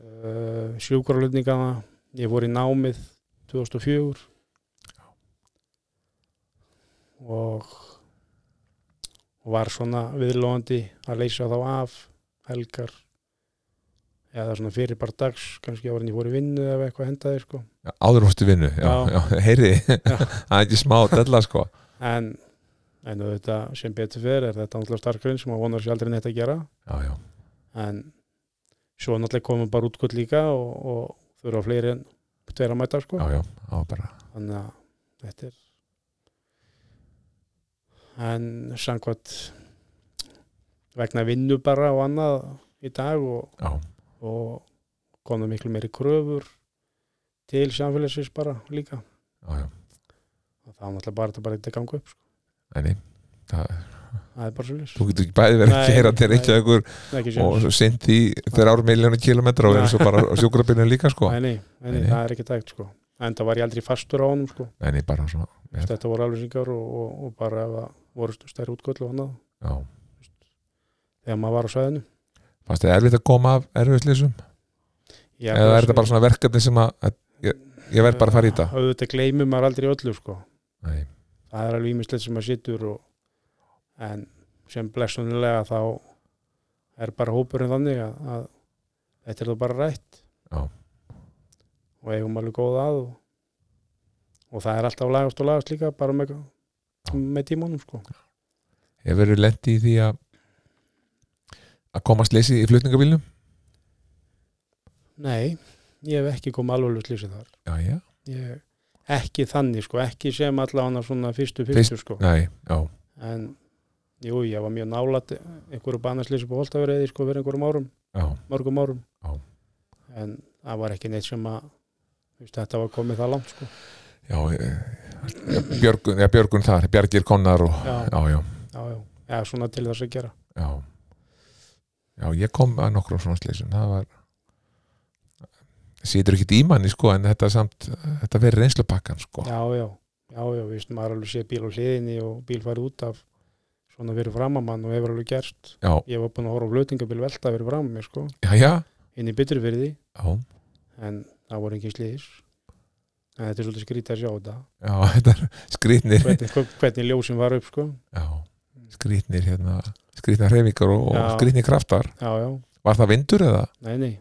B: uh, sjúkralutningana ég voru í námið 2004 og og var svona viðlóðandi að leysa þá af helgar eða svona fyrir bara dags kannski ára en ég fór í vinnu eða eitthvað hendaði sko
A: Já, áður hóttu vinnu já,
B: Já.
A: já, heyri, það er ekki smá della sko,
B: en, en þetta sem betur fyrir er þetta náttúrulega starkrinn sem maður vonar sér aldrei neitt að gera
A: já, já,
B: en svo náttúrulega komum bara útkvöld líka og, og þurfa fleiri en tveir að mæta sko
A: já, já, já bara,
B: þannig að þetta er en samkvæmt vegna vinnu bara og annað í dag og,
A: já,
B: og komum miklu meiri kröfur til samfélagsins bara líka
A: já, já
B: og það var náttúrulega bara þetta bara eitthvað gangu upp sko.
A: enni, það,
B: það er bara svolítið
A: þú getur ekki bæði verið að
B: Nei,
A: gera til
B: nei.
A: ekki einhver
B: ekki
A: og
B: séns.
A: svo sint í þegar árum miljónu kilometra og
B: Nei.
A: verið svo bara á sjúkrafinu líka sko,
B: nei, nei, nei,
A: Nei,
B: nei,
A: nei.
B: það er ekki tækt sko. en það var ég aldrei fastur á honum sko.
A: enni bara svona, Já.
B: þetta voru aflýsingar og, og, og bara ef það voru stærri útgöll og annað
A: já,
B: þegar maður var á sæðinu
A: fannst þið erfitt að koma af erfiðslýsum, eða er þetta bara svona verkefni sem að, að ég, ég verð bara að fara í þetta
B: auðvitað gleymum maður aldrei öllu sko
A: Nei,
B: það er alveg ímislegt sem maður situr og, en sem blessunulega þá er bara hópurinn þannig að, að þetta er það bara rætt
A: Já.
B: og eigum alveg góð að og, og það er alltaf lagast og lagast líka bara með, með tímanum sko
A: hefur verið lendi í því að að komast leysi í flutningabílnum
B: nei, ég hef ekki komið alveg slýsið þar
A: já, já,
B: ég, ekki þannig sko, ekki sem allavega svona fyrstu fyrstu sko
A: nei, já,
B: en jú, ég var mjög nálat einhverju banaslýsi på Holtaveriði sko fyrir einhverjum árum,
A: já,
B: mörgum árum
A: Já.
B: en það var ekki neitt sem að þú veist, þetta var komið það langt sko
A: já eh, björgun, já, björgun þar, bjargir konar og,
B: já,
A: já, já,
B: já, já, Já, svona til þess að gera.
A: já já, ég kom að nokkrum svona sleysum það var situr ekkert í manni sko en þetta samt, þetta verið reynslu pakkan sko
B: Já, já, já, já, víst, maður alveg sé bíl á hliðinni og bíl farið út af svona fyrir framamann og hefur alveg gerst.
A: já,
B: Ég var búin að horfa á flötingabíl velta fyrir fram mér, sko,
A: já, já,
B: inn í byttur fyrir því,
A: já,
B: en það voru engin slýðis. En þetta er svolítið skrítið að sjá þetta.
A: já þetta er skrýtni
B: Hvernig, hvernig ljósin var upp, sko.
A: já, skrýtnir hérna skrýtna hreyfingar og, og
B: Já.
A: skrýtni kraftar
B: Já, já,
A: var það vindur eða?
B: nei, nei,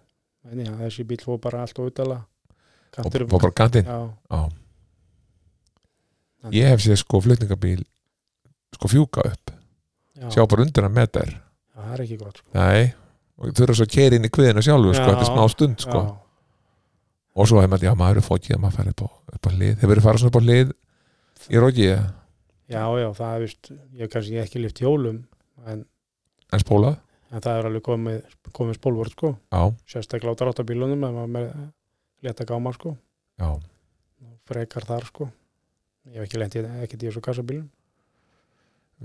B: nei, nei, þessi bíl fór bara allt og utala.
A: og og bara kantinn,
B: Já,
A: já ég hef séð sko flutningabíl sko fjúka upp,
B: já,
A: sjá bara undir að metar
B: Já, það er ekki gott, sko.
A: nei, og þurfa svo að keira inn í kviðinu sjálfu sko,
B: Já.
A: þetta er smá stund sko
B: Já,
A: og svo hefði maður, já maður er fókið að maður færi upp á, upp á hlið, hefur farið svona upp á hlið í rókið,
B: já, já, það er vist, ég hef kannski ekki lift hjólum, en,
A: en spólað
B: en það er alveg komið, komið spólvort, sko.
A: já,
B: sérstaklega á dráttabílunum ef maður með leta gáma sko
A: já,
B: frekar þar sko ég hef ekki lent í ekkert í þessu kassabílum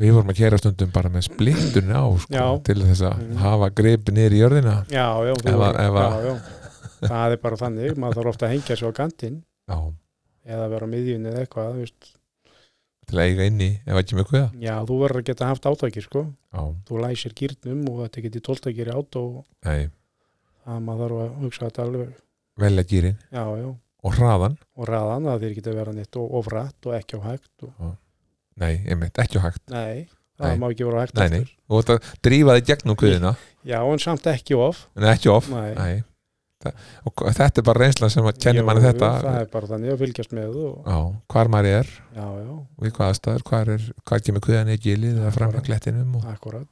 A: við vorum að kera stundum bara með splittunni á sko,
B: Já.
A: til þess að
B: Mhm.
A: hafa grip niður í jörðina
B: já, já, þú-
A: Ef að- ef að-
B: já, já. það er bara þannig, maður þarf ofta að hengja sig á kantinn
A: já,
B: eða vera á miðjunni eða eitthvað þú veist.
A: til að eiga inni ef ekki með kviða
B: já, þú verður að geta haft átaki sko
A: já,
B: þú læsir gýrnum og þetta geti tóltakir át og
A: nei,
B: það maður þarf að hugsa þetta alveg
A: velja gýrin
B: já, já,
A: og hraðan,
B: og raðan að þeir geta vera nýtt og ofrætt og ekki á hægt og...
A: nei, einmitt, ekki á hægt Nei.
B: nei, það má ekki vera á hægt
A: nei, nei,
B: aftur.
A: þú vart að drífa þig gegnum kviðina
B: já, en samt ekki of
A: en ekki of,
B: nei,
A: nei Þa- og hva- þetta er bara reynslan sem að kenni
B: Jú,
A: manni
B: jú,
A: þetta
B: það er bara þannig að fylgjast með og,
A: já, hvar maður er
B: já, já,
A: og í hvað aðstæður, hvar, er, hvar kemur kviðan í gilið eða fram að klettinum og,
B: akkurat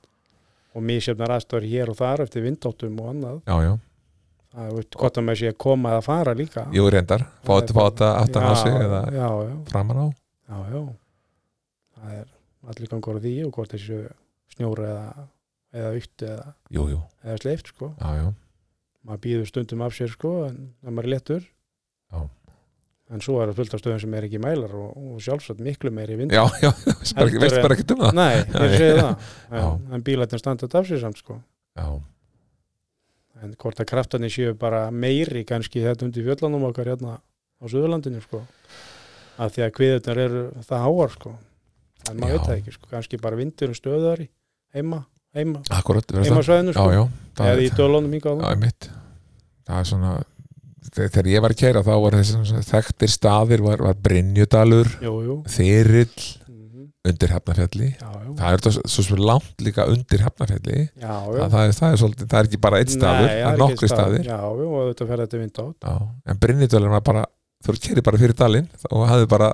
B: og misjöfnar aðstöður hér og þar eftir vindáttum og annað
A: já, já,
B: það er veit hvort að maður sé að koma eða fara líka
A: jú reyndar fá þetta, fá þetta aftan á sig eða
B: já, já,
A: framan á
B: já, já það er allir gangur á því og hvort þessu snjóra eða eða ytt eða,
A: jú, jú,
B: eða sleift sko
A: já, já,
B: maður býður stundum af sér sko en en maður er lettur
A: Já.
B: en svo er það fullt af stöðum sem er ekki mælar og, og sjálfsagt miklu meiri vind
A: já, já veist bara ekki- veist bara ekki um það
B: Nei, ég segi það en,
A: Já.
B: en bílarnir standa þetta af sér samt sko
A: já,
B: en hvort að kraftarnir séu bara meiri kannski þetta undir fjöllunum okkar hérna á Suðurlandinu sko af því að kviðurnar eru það háar sko en
A: Já.
B: maður veit það ekki sko kannski bara vindur og stöðari heima, heima,
A: akkurat verður
B: heima
A: það, já,
B: svæðinu sko
A: já
B: eða í
A: það,
B: dölunum hingað á
A: það er mitt það er svona þe- þegar ég var að kæra þá var þessi þekktir staðir var, var Brynjudalur,
B: Jú, jú
A: Þyrill
B: Mhm.
A: undir Hafnarfjalli
B: Já, já,
A: það er þetta svo svo langt líka undir Hafnarfjalli
B: já, já.
A: það, það, er, það, er svolítið, það er ekki bara einn staður,
B: Nei,
A: það
B: ekki
A: er nokkri
B: staður.
A: staðir
B: Já, já, og þetta fer þetta vind át
A: Já, en Brynjadalur var bara þú keri bara fyrir dalinn og hafði bara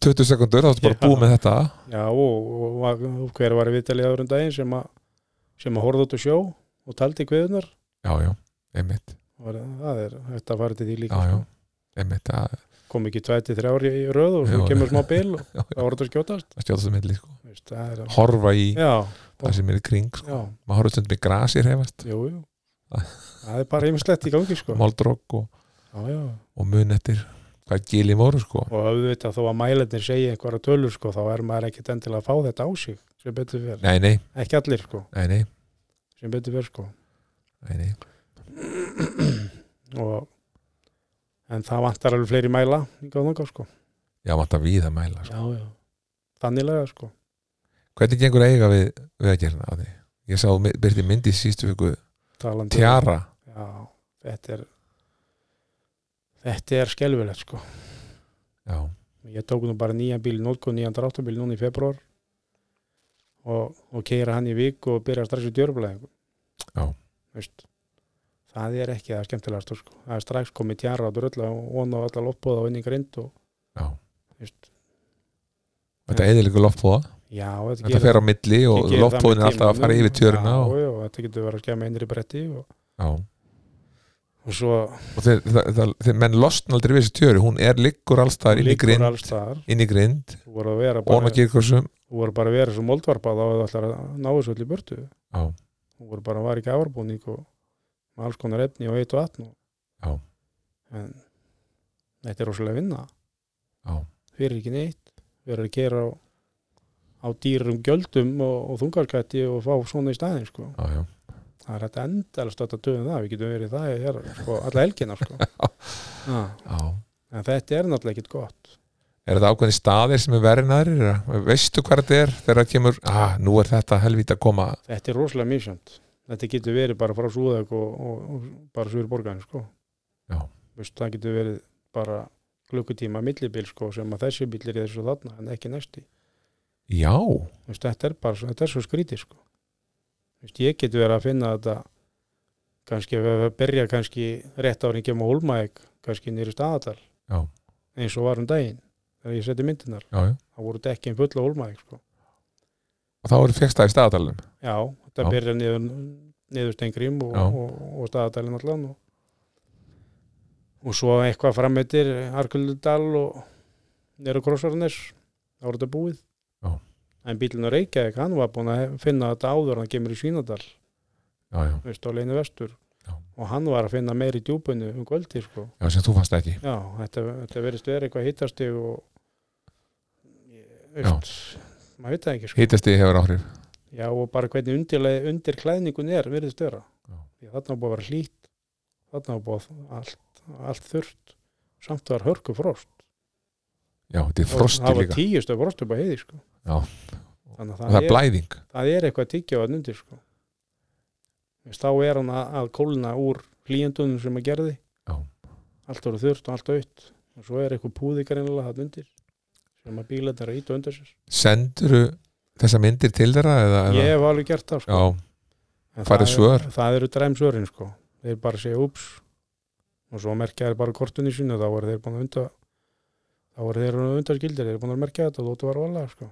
A: 20 sekundur, þá ertu bara
B: Já.
A: búið með þetta
B: Já, og, og, og hver var í viðtalið áður um daginn sem að sem að horfða út á sjó og taldi kviðunar
A: Já, já, einmitt
B: og það er hægt að fara til því líka
A: Já, já,
B: sko.
A: einmitt að
B: kom ekki 23 ári í röð og svo
A: Jú.
B: kemur smá bil og
A: Já,
B: það voru þetta að skjótast
A: stjóta þessu myndli sko.
B: Vist, það er,
A: Horfa í
B: Já,
A: það sem er í kring sko.
B: já,
A: Maður horfa stundum í grasi hefast
B: jú, jú það er bara heimislegt í gangi sko.
A: Moldrokk og,
B: já, já.
A: og mun eftir hvað gili voru sko.
B: og auðvitað þó að mælendir segja einhverja tölur sko, þá er maður ekkit endilega að fá þetta á sig sem betur fer,
A: Nei, nei,
B: ekki allir sko,
A: nei, nei,
B: sem betur fer sko
A: nei, nei.
B: og en það vantar alveg fleiri mæla hingað og þangað, sko.
A: Já, maður það víða mæla sko.
B: já, já. þanniglega sko.
A: Hvernig gengur að eiga við, við að gera það? Ég sá mi- byrti myndi í sístu viku
B: Talandi- um-
A: Tjara,
B: já, þetta er þetta er skelfilegt sko.
A: já,
B: ég tók nú bara nýjan bíl í nótku nýjan dráttabíl núna í februar og, og keira hann í vik og byrja strax í djörblæðingu
A: Já.
B: Veist, það er ekki það skemmtilegast sko. það er strax komið tjara á drölla og on á alla loppbóða og inn í grind og,
A: já
B: veist,
A: Þetta eðilegu loftbóða
B: já, þetta,
A: Þetta fer á milli og
B: Ég geri það
A: loftbóðin er
B: með
A: alltaf að fara
B: tímanum.
A: yfir tjörina
B: já,
A: og,
B: já, þetta getur verið að skemma einri bretti og,
A: já.
B: og svo
A: og þeir, það, það, þeir, menn losna aldrei við þessi tjöru hún er liggur allstaðar inn í
B: liggur
A: grind
B: alls þar
A: inn í grind,
B: þú voru að vera
A: ofan
B: bara,
A: að kirkursum
B: þú voru bara að vera svo moldvarpa þá að þú ætlar að ná þessu öll í burtu
A: Já.
B: þú voru bara að vara í gafarbúning og með alls konar efni og eitt og atn og,
A: Já.
B: en þetta er rosalega vinna
A: Já.
B: fyrir ekki neitt, við erum að gera á, á á dýrum gjöldum og, og þungarkætti og fá svona í staðin sko.
A: já, já,
B: það er þetta endalst að töðum það, við getum verið það hér, sko, alla helgina sko. Já,
A: já.
B: en þetta er náttúrulega ekkit gott
A: Er þetta ákveðni staðir sem er verið næri? Veistu hvað þetta er þegar það kemur ah, nú er þetta helvíti að koma
B: þetta er rosalega misjönd þetta getur verið bara frá Súðag og, og, og bara Súður borgarinn sko.
A: Já.
B: Veist, það getur verið bara klukkutíma millibíl sko, sem að þessi bíl er í þessu þarna en ekki næsti
A: Já,
B: Veist, þetta er bara, svo- þetta er svo skrítið sko. Veist, ég geti verið að finna þetta kannski ef við byrja kannski rétt árin kemur hólmaðeg kannski nýri staðatal
A: Já.
B: eins og var um daginn þegar ég seti myndinar,
A: já, já
B: það voru dekkin fulla hólmaðeg sko.
A: Og þá eru fegst það í staðatalum
B: já, þetta
A: Já.
B: byrja niður, niður stengrím og,
A: Já.
B: og, og staðatalinn allan og, og svo eitthvað framöndir Arkuldal og nýra krossarnes þá voru þetta búið
A: Já.
B: en bílinn að Reykjavík, hann var búin að finna þetta áður en hann kemur í Svínadal
A: Já, já,
B: veist, á leinu vestur
A: Já.
B: og hann var að finna meiri djúpunni um kvöldi sko.
A: já, sem þú fannst ekki
B: já, þetta, þetta verðist verið eitthvað hittastig og veist, maður veit það ekki sko.
A: Hittasti hefur áhrif
B: já, og bara hvernig undir, undir klæðningun er verðist vera
A: Já.
B: Því að þarna var búið að vera hlýtt þarna var búið að allt, allt þurrt samt var hörku frost
A: Já, þetta er
B: Það var-
A: frosti
B: það var
A: líka
B: tíustu frost upp á heiði sko.
A: Já. Og
B: þannig að
A: það
B: það,
A: er blæðing
B: er, það er eitthvað tyggja á undir sko. Veist, þá er hann að, að kólna úr hlýjendunum sem að gerði
A: Já,
B: allt voru þurft og allt aukt og svo er eitthvað púði greinilega það undir sem að bíla þetta ít undir sér
A: Senduru þessa myndir til þeirra eða, eða?
B: ég hef alveg gert það sko.
A: Já,
B: En
A: farið
B: það,
A: svör.
B: er- það eru dræm svörin sko. þeir bara segja ups og svo merkja þeir bara kortunni sínu þá voru þeir búin að unda þá voru þeir undarskildir, þeir eru búin að merkja þetta og þóttu var vala sko.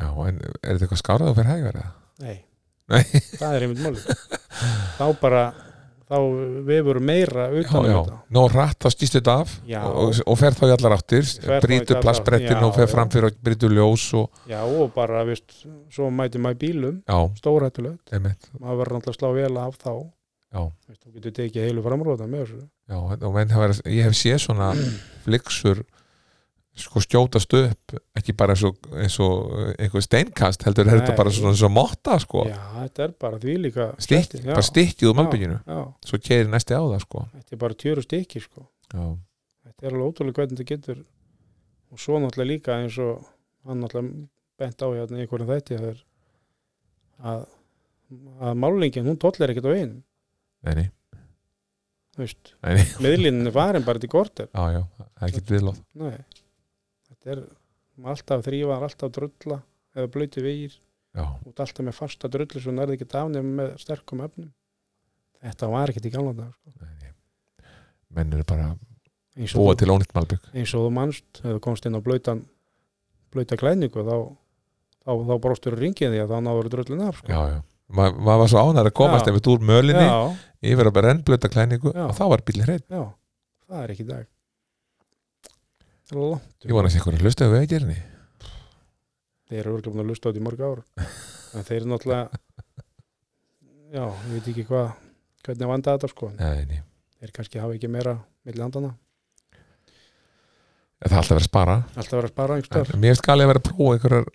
A: já, en er þetta eitthvað skárað og fyrir hægverða?
B: nei,
A: Nei.
B: það er einmitt máli þá bara þá vefur meira
A: Já,
B: utan um
A: já,
B: þetta
A: nóg rætt þá stýst þetta af
B: Já.
A: og, og fer þá í allar áttir
B: Fer þá í
A: brýtur
B: allar
A: plastbrettin
B: áttir,
A: og fer
B: já,
A: fram fyrir og brýtur ljós og,
B: já og bara, veist, svo mætum maður bílum
A: já,
B: stórhættulegt
A: einmitt
B: maður verður náttúrulega að slá vel af þá
A: Já.
B: Veist, þú getur tekið heilu framróða með þessu
A: Já, og menn hafa, verið- ég hef séð svona fliksur sko skjótast upp, ekki bara eins og, eins og eh, einhver steinkast heldur er þetta
B: Nei.
A: bara svona eins og motta sko
B: já, þetta er bara því líka
A: Stykki, bara stykkið úr mannbygginu
B: já,
A: svo keiri næsti á það sko
B: þetta er bara tjöru stykki sko.
A: Já,
B: þetta er alveg ótrúlega hvernig þetta getur og svo náttúrulega líka eins og hann náttúrulega bent á hérna í einhverjum þætti það er að, að málingin, hún tollir ekkert á einum
A: neini,
B: þú veist,
A: neini
B: miðlinni farin bara til korter
A: Já, já, það er ekki viðlóð
B: Nei. þetta er alltaf þrýfa, alltaf drulla eða blöyti vegir
A: Já,
B: út alltaf með fasta drullu sem nærði ekki af nefnum með sterkum efnum þetta var ekkert í gamla dag sko.
A: neini menn eru bara að
B: eins,
A: búa
B: og þú,
A: til ónýtt malbygg
B: eins og þú manst ef þú komst inn á blöytan blöyta klæningu þá, þá, þá bróstur ringið því að þá náður drullin af sko.
A: Já, já, Ma, maður var svo ánæður að komast
B: Já.
A: einmitt úr mölinni
B: já,
A: yfir að bara rennblöta klæningu
B: Já.
A: og þá var bílinn hreitt
B: já, það er ekki í dag Það er langt.
A: Ég vona að sé einhverju hlustaðu vegagerni
B: þeir eru örgum að lusta á þetta í mörg ár en þeir eru náttúrulega já, ég veit ekki hvað hvernig að vanda þetta sko en
A: Neini,
B: þeir kannski hafa ekki meira milli handana
A: það er alltaf verið að spara
B: alltaf verið að spara einhvers
A: En
B: staðar.
A: mér finnst galið að vera að prófa einhverjar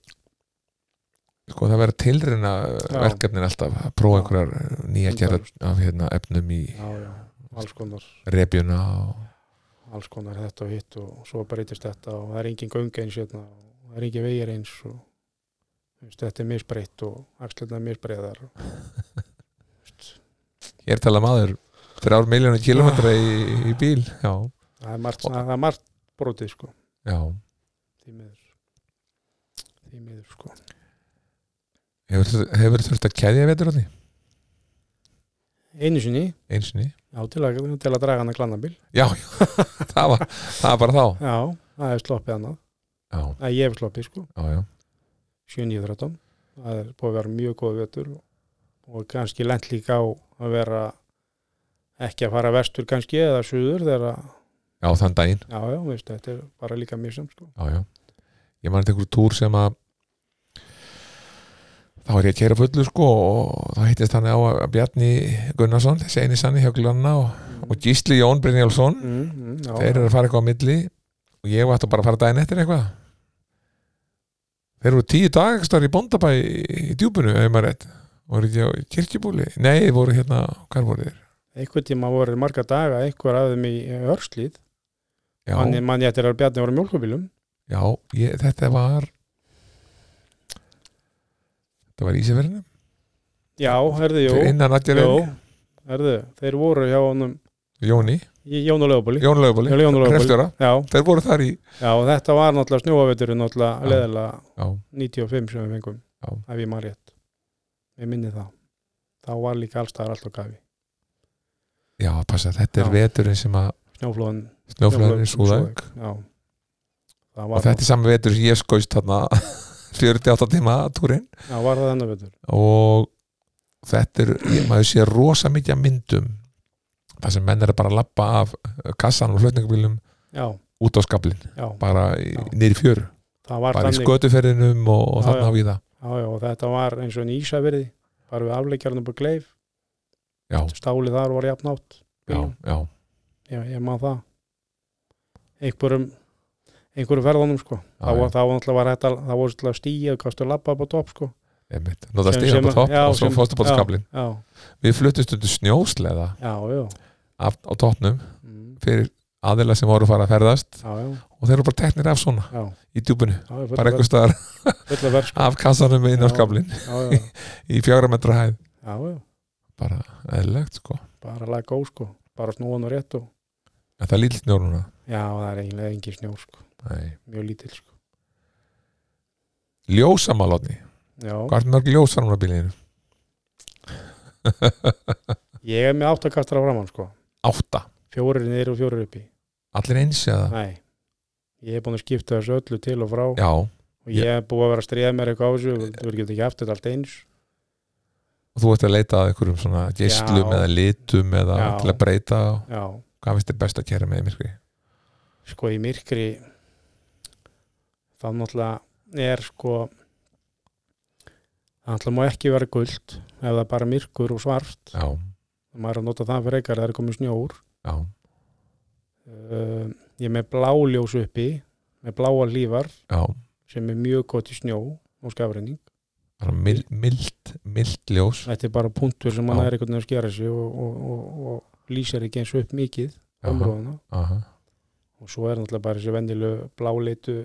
A: sko það vera tilruna
B: Já.
A: verkefnin alltaf að prófa
B: Já.
A: einhverjar nýja gerð af- af hérna, efnum í
B: já, já, alls konar
A: repjuna og
B: alls konar þetta og hitt og svo breytist þetta og það er engin göng eins hérna og það er engin vegir eins og þú veist, þetta er misbreytt og axlirna er misbreyðar og, þú veist,
A: ég er talað maður þrjár miljónu kilometra í, í bíl já,
B: það er margt, það er margt brotið sko
A: já,
B: því miður því miður sko
A: hefur, hefur þurft að keðja vetur á því,
B: einu sinni,
A: einsinni
B: já til að, til að draga hann að glannabíl
A: já, já, það var það var bara þá
B: já, það er sloppið annað,
A: já,
B: að ég hef sloppið sko
A: já, já,
B: 7-13 það er búið að vera mjög góð vetur og, og kannski lent líka á að vera ekki að fara vestur kannski eða suður þegar að,
A: já, þann daginn
B: já já, veist, þetta er bara líka mjög sem sko
A: já, já, ég mann einhverju túr sem að þá er ég að kæra fullu sko og þá hittist hann á að Bjarni Gunnarsson, þessi eini sanni hjá Glanna og, og Gísli Jón Brynjálfsson
B: mm, mm, já,
A: þeir eru að fara eitthvað á milli og ég var þetta bara að fara daginn eftir eitthvað Þeir voru tíu dagastar í bóndabæ í, í djúpunu, ef maður er rétt voru ekki á kirkjubúli, nei, voru hérna hvar voru þeir?
B: einhver tíma voru þeir marga daga einhver af þeim í örslíð
A: Já,
B: manni mann ég eftir að Bjarni voru mjólkubílum
A: já ég, þetta var þetta var Ísafirinu
B: já, herðu, jú,
A: innan
B: jú
A: Adjarinn,
B: herðu, þeir voru hjá honum
A: Jóni
B: í Jónulegubúli
A: Jón Lögbóli,
B: já,
A: hrefstjóra þeir voru þar í
B: já, og þetta var náttúrulega snjóaveturinn
A: Já.
B: náttúrulega leðilega
A: já,
B: 95 sem við fengum
A: Já.
B: ef ég maður rétt ég minni það þá var líka allstaðar alltaf gafi
A: já passa, þetta er
B: Já.
A: veturinn sem að
B: snjóflóðan
A: snjóflöðin er
B: Súðavík.
A: súðæk
B: já það
A: og
B: var,
A: þetta er saman vetur sem ég skoist þarna 48 tíma túrin
B: það, já, var það þennan vetur
A: og þetta er, ég, maður sé rosa mikið af myndum þar sem menn eru bara að lappa af kassanum og hlutningabílum
B: já,
A: út á skablin,
B: já,
A: bara í-
B: Já.
A: niður í fjöru
B: það var
A: bara í
B: þannig
A: skötuferðinum og, og
B: Já,
A: þarna
B: já.
A: á víða
B: já, já, og þetta var eins og enn Ísafirði bara við afleikjarnum bara gleif
A: já,
B: stálið þar var jafnátt
A: já, já,
B: ég, ég maður það einhverjum einhverjum ferðanum sko
A: Já,
B: þá
A: já.
B: var, þá náttúrulega var þetta það voru stíð stíið, kastu lappa upp á topp sko
A: einmitt nota
B: Sem-
A: stíðan á
B: sem að-
A: topp
B: já,
A: og svo
B: sem-
A: fórstu bara á
B: já.
A: skablin
B: já,
A: við fluttist undir snjósleða
B: já, já
A: af, á toppnum
B: mm,
A: fyrir aðila sem voru að fara að ferðast
B: já, já,
A: og þeir eru bara teknir af svona
B: já,
A: í djúbunu,
B: já ég
A: bara
B: fulla
A: einhver staðar
B: verð- fulla verð sko
A: af kassanum inn á
B: Já.
A: skablin
B: já, já,
A: í fjögra metra hæð
B: já, já,
A: bara eðlilegt sko
B: bara að laga góð sko bara snúan og rétt og
A: en það er lítill snjór núna
B: já, það er eiginlega engin snjór sko
A: Nei.
B: mjög lítill sko
A: ljósamalotni,
B: já,
A: hvað er mörg ljós fram á bílinu?
B: ég er með áttakastara framann sko
A: Átta,
B: fjórir niður og fjórir uppi
A: allir eins eða?
B: nei, ég er búin að skipta þessu öllu til og frá
A: Já,
B: og ég er búin að vera að stríða mér eitthvað á þessu og þú getur ekki haft þetta allt eins
A: og þú ert að leita að einhverjum svona geislum
B: Já.
A: eða litum eða
B: Já.
A: til að breyta
B: já,
A: hvað finnst þér best að kæra með í myrkri?
B: sko í myrkri þá náttúrulega er sko það náttúrulega má ekki vera guld ef það er bara myrkur og svart
A: Já,
B: maður er að nota það fyrir eitthvað það er komið snjór
A: já,
B: uh, ég er með bláljós uppi með bláa lífar
A: já
B: sem er mjög gott í snjó og skafræning
A: bara mild, mild, mild ljós
B: þetta er bara punktur sem mann
A: Já.
B: er einhvern veginn að skera sig og, og, og, og lýsar ekki eins upp mikið
A: Aha,
B: umróðuna
A: aha,
B: og svo er náttúrulega bara þessi venjulegu bláleitu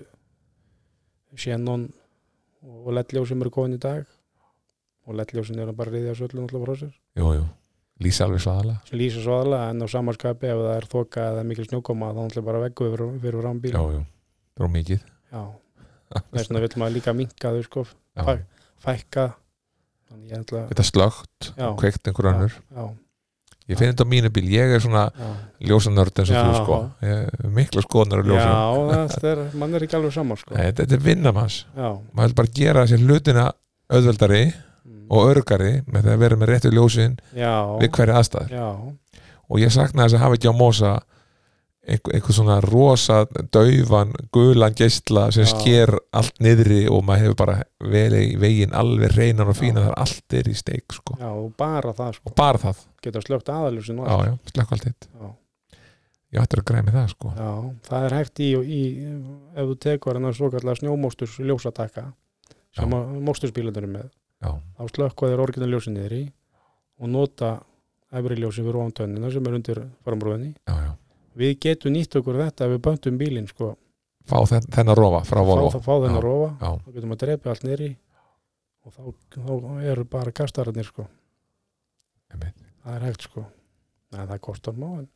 B: xenon og lettljós sem eru komin í dag og lettljósin eru bara að riðja söllu náttúrulega frá sér
A: jú, jú lýsa alveg svaðalega,
B: sem lýsa svo aðalega en á samanskapi ef það er þoka eða mikil snjókoma þá náttúrulega bara veggu fyrir, fyrir fram bíl
A: já, jú það er mikið
B: Já. þess vegna vil maður líka minka þau sko
A: já.
B: Fag. fækka þannig ég ætla
A: þetta slögt,
B: Já.
A: kveikt einhver önnur
B: já,
A: ég finn þetta á mínu bíl, ég er svona
B: já.
A: ljósanörd eins og
B: Já.
A: þú sko ég, er mikla skoðanar af ljósum
B: já það er, mann er ekki alveg saman sko
A: Nei, þetta er vinnam hans
B: já,
A: maður vil bara gera sér hlutina auðveldari
B: Mm.
A: og örgari með það að vera með réttu ljósin við
B: já,
A: hverja aðstæður
B: já,
A: og ég sakna þess að hafa ekki á mosa einhver, einhver svona rosa daufan, gulan geisla sem
B: Já.
A: sker allt niðri og maður hefur bara vel í veginn alveg reynan og fínan þar allt er í steik sko.
B: já, og bara það sko
A: og bara það,
B: geta slögt aðaljósin
A: já já, slökk allt hitt
B: Já.
A: ég ætti að græmi það sko
B: Já, það er hægt í, í ef þú tekur hennar svo kallar snjómósturs ljósataka sem
A: Já.
B: að móstursbílandur er með
A: já,
B: þá slökka þeir orginal ljósin niður í og nota efri ljósin fyrir ofan tönnina sem er undir framrúðinni
A: já, já.
B: við getum nýtt okkur þetta ef við böndum bílinn sko,
A: fá þenn, þennan rofa frá
B: fá,
A: Volvo
B: fá, fá þennan rofa
A: já,
B: þá getum að drepa allt niður í og þá, þá eru bara kastararnir sko
A: Einmitt.
B: það er hægt sko Nei, það kostar má en,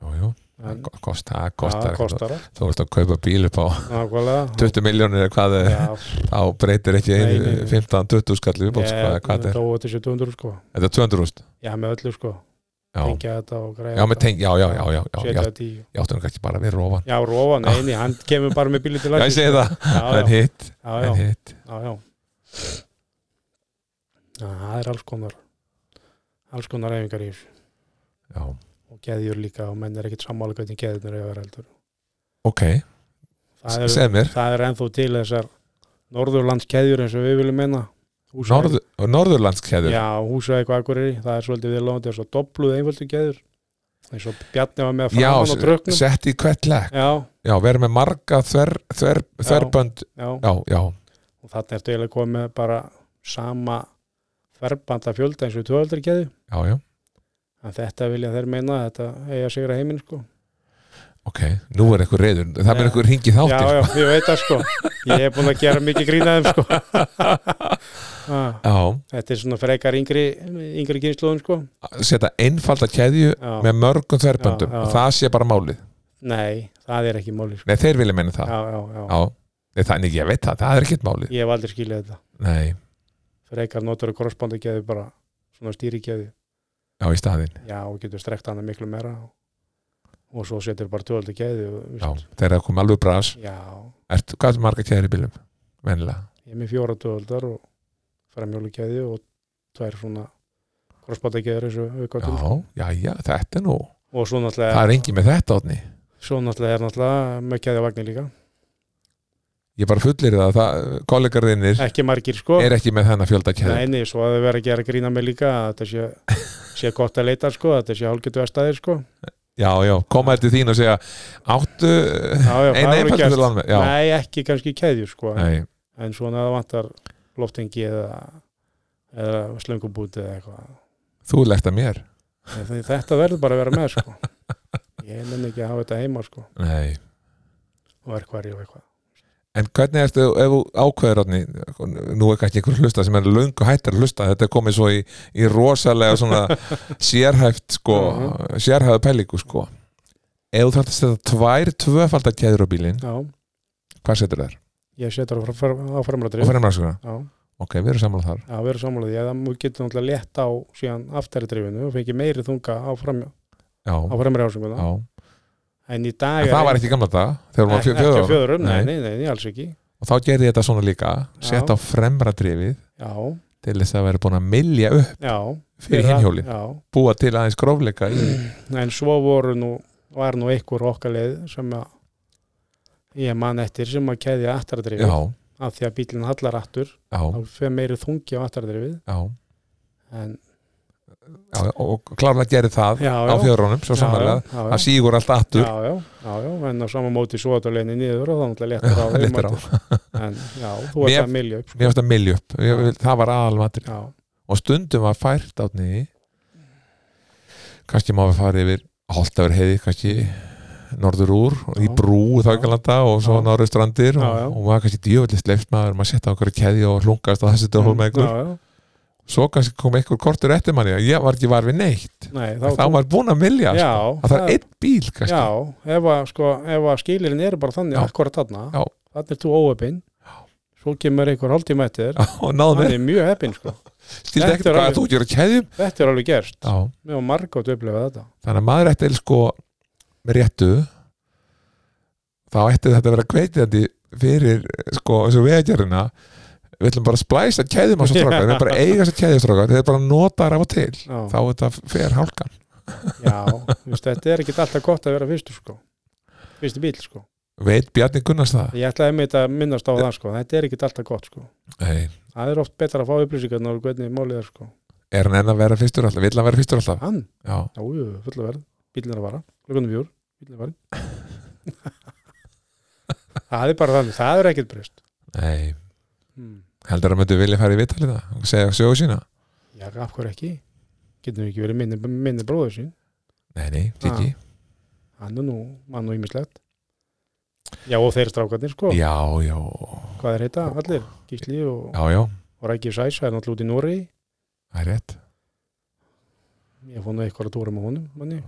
A: já, já, það
B: en
A: ko- kosta, það
B: það
A: kostar ekkert.
B: kostar allt,
A: þú veist að kaupa bíl upp á
B: nákvæmlega
A: 20 miljónir eða hvað það er
B: Já,
A: þá breytir ekki
B: Nei,
A: einu
B: nei, nei.
A: 15-20 skall viðbótt sko, eða hvað
B: þetta
A: það er,
B: er óvægt þessi 200 sko
A: þetta er 200 rúst
B: Já, með öllu sko,
A: já,
B: tengja þetta og græða
A: já, með teng, já, já, já, já, já,
B: setja
A: já,
B: þetta í
A: já, áttu nú kannski bara við rófan
B: Já, rofa, neini, hann kemur bara með bílið til
A: já, ég
B: landsins.
A: segi það,
B: Já,
A: en
B: já,
A: hitt
B: já,
A: en
B: já,
A: hitt,
B: já, já. Já, Það er alls konar alls konar reyfingar í þessu
A: já,
B: og geðjur líka og menn er ekkit sammála hvernig geðjurnar er að vera heldur
A: ok
B: það er,
A: segð mér,
B: það er ennþá til þessar norðurlands geðjur eins og við viljum menna
A: Norð, norðurlandskæður
B: Já, húsæk og akkurri, það er svolítið við lóðandi þess að dobluð einföldu geður eins og Bjarni var með
A: já,
B: framan á dröknum
A: sett í hvert legg
B: Já,
A: já, verið með marga þver, þver,
B: Já.
A: þverbönd
B: já,
A: já, já,
B: og þarna ertu eiginlega komið með bara sama þverbanda fjölda eins og tvöaldri keði
A: já, já,
B: en þetta vilja þeir meina að þetta eiga sigra heiminn sko
A: ok, nú er eitthvað reyður það er
B: Já.
A: eitthvað ringi þáttir
B: já, já, ég veit það sko ég hef búin að gera mikið grínaðum sko ah,
A: já.
B: þetta er svona frekar yngri yngri kynsluðum sko
A: setja einfalda keðju
B: Já.
A: með mörgum þverböndum
B: Já, já.
A: og það sé bara málið
B: nei, það er ekki máli sko.
A: Nei, þeir vilja meina það
B: já, já, já.
A: Já. Nei, þannig ég veit það, það er ekkert málið
B: ég hef aldrei skilið þetta
A: Nei,
B: frekar notur að korrespondi geði bara svona stýri geði
A: já, í staðinn
B: já, og getur strekt hana miklu meira og, og svo setur bara tvöldu geði og,
A: Já,
B: veist,
A: þegar það kom alveg bras
B: já,
A: Ertu, Hvað er marga keðjur í bílum? Venlega,
B: ég er með fjóra tvöldar og framjólu geði og tvær svona korrespondi geður eins og auka
A: já,
B: til
A: já, já, þetta er nú
B: og svo náttúrulega
A: Það er engin með þetta, Otni
B: svo náttúrulega er náttúrulega með keðjavagnir líka
A: Ég bara fullir það, það kollegarðinir
B: ekki margir sko
A: er ekki með þennan fjölda keðjur
B: Neini, svo að þau verið að gera grína með líka að þetta sé, sé gott að leita sko, að þetta sé hálfgetu að staðir sko
A: Já, já, koma eftir þín og segja Áttu
B: já,
A: eina
B: já, það voru
A: einfalda
B: gert.
A: til landmenn Já,
B: Nei, ekki kannski keðju sko en-
A: nei,
B: en svona að það vantar loftengi eða, eða slöngubúti eða eitthvað
A: þú legt að mér
B: En því þetta verður bara að vera með sko ég nenni ekki að hafa þetta heima sko
A: Nei
B: og verkværi og eitthvað
A: En hvernig ertu, ef þú ákveður átni, nú er kannski einhver hlusta sem er löngu hættar að hlusta, þetta er komið svo í, í rosalega svona sérhæft sko,
B: Mhm.
A: sérhæðu pælingu sko. Ef þú þarft að setja tvær tvöfaldar keður á bílinn,
B: já,
A: hvað setur þær?
B: ég setur á, fram, á
A: Og
B: framrættrif já,
A: fyrir mjög
B: já,
A: ok, við erum samanlega þar.
B: við erum sammálaði ég það mjög getur náttúrulega létt á síðan aftaritrifinu og fengi meiri þunga á, fram, á
A: Já,
B: framri ásinguna
A: já.
B: en í
A: En
B: dag
A: það var ekki í gamla dag, þegar við varum
B: ekki,
A: fjö-
B: ekki
A: fjögur
B: á
A: ára.
B: fjöðurum, nei,
A: Nei.
B: nei, nei, alls ekki
A: Og þá gerði ég þetta svona líka, sett
B: Já.
A: á fremra drifið
B: já,
A: til þess að vera búin að milja upp
B: já,
A: fyrir
B: Fyrra-
A: hinhjólið,
B: já,
A: búa til aðeins grófleika í,
B: en svo voru nú var nú einhver okkar leið sem að ég man eftir sem að keðja aftardrifið
A: já,
B: af því að bílinn hallar aftur
A: já,
B: þá fer meiri þungi á aftardrifið
A: já.
B: en
A: já, og klárlega gerir það
B: já,
A: á fjörunum svo samanlega,
B: já, já,
A: það sígur allt
B: já,
A: aftur
B: já, já, já, en á sama móti svo að það leiðinni niður og þá náttúrulega léttir á þeim
A: léttir á.
B: að- en já, þú ert
A: Mér-
B: að milja upp sko.
A: mér finnst að milja upp, ég, vil- það var aðalmatur
B: já,
A: og stundum var fært átni kannski má við fara yfir Holtavur heiði, kannski norður úr,
B: Já.
A: í brú þá ekki og svo
B: Já.
A: norður strandir og,
B: Já, já.
A: og maður kannski djöfellist leift maður, maður setja á okkur keði og hlungast og það setja hólma
B: Mm, já,
A: einhver,
B: já,
A: svo kannski kom einhver kortur eftir manni, ég var ekki var við neitt
B: nei, þá,
A: þá var búin að milja
B: já,
A: sko. að það er einn bíl kannski
B: já, ef að, sko, ef að skilirinn eru bara þannig
A: Já.
B: akkurat þarna,
A: Já.
B: þannig er þú óöpinn svo kemur einhver hálftíma eftir
A: og náðum
B: hann
A: við,
B: er mjög heppinn sko
A: stildi
B: Þetta
A: ekkert
B: er
A: hvað
B: alveg-
A: þú gerir keðjum
B: þetta er alveg gerst,
A: já.
B: mér var margótt upplifað þetta
A: þannig að maður ætti sko með réttu þá ætti þetta að vera kveitjandi fyrir sko eins og vegagerðina við ætlum bara að splæsa keðjum á svo strókar við ætlum bara að eiga svo keðjum strókar þeir bara notar af og til
B: já,
A: þá þetta fer hálkan
B: já veist, þetta er ekki alltaf gott að vera fyrstu sko fyrstu bíl sko,
A: veit Bjarni Gunnars það?
B: ég ætlaði einmitt að minnast á það sko, þetta er ekki alltaf gott sko
A: Nei.
B: það er oft betra að fá upplýsingarnar og hvernig málið er sko,
A: er hann enn að vera fyrstur alltaf? vill hann vera fyrstur alltaf?
B: hann,
A: já,
B: já, jú, fulla verð bílinn er að vara, klukkanum fjúr, bílinn er að vara það er bara þannig, það er ekkert breyst
A: nei
B: hmm.
A: heldur að myndu vilja fara í vitalið það og segja sögu sína?
B: já, af hverju ekki getum við ekki verið minni, minni bróður sín
A: nei, nei, ekki
B: hann er nú, hann er nú ímislegt já og þeir strákarnir sko
A: já, já,
B: hvað er heita allir, Gísli og,
A: já, já
B: og Rækki Sæs það er náttúrulega út í Nóri
A: það er rétt
B: ég fann nú eitthvað að tóra með honum manni.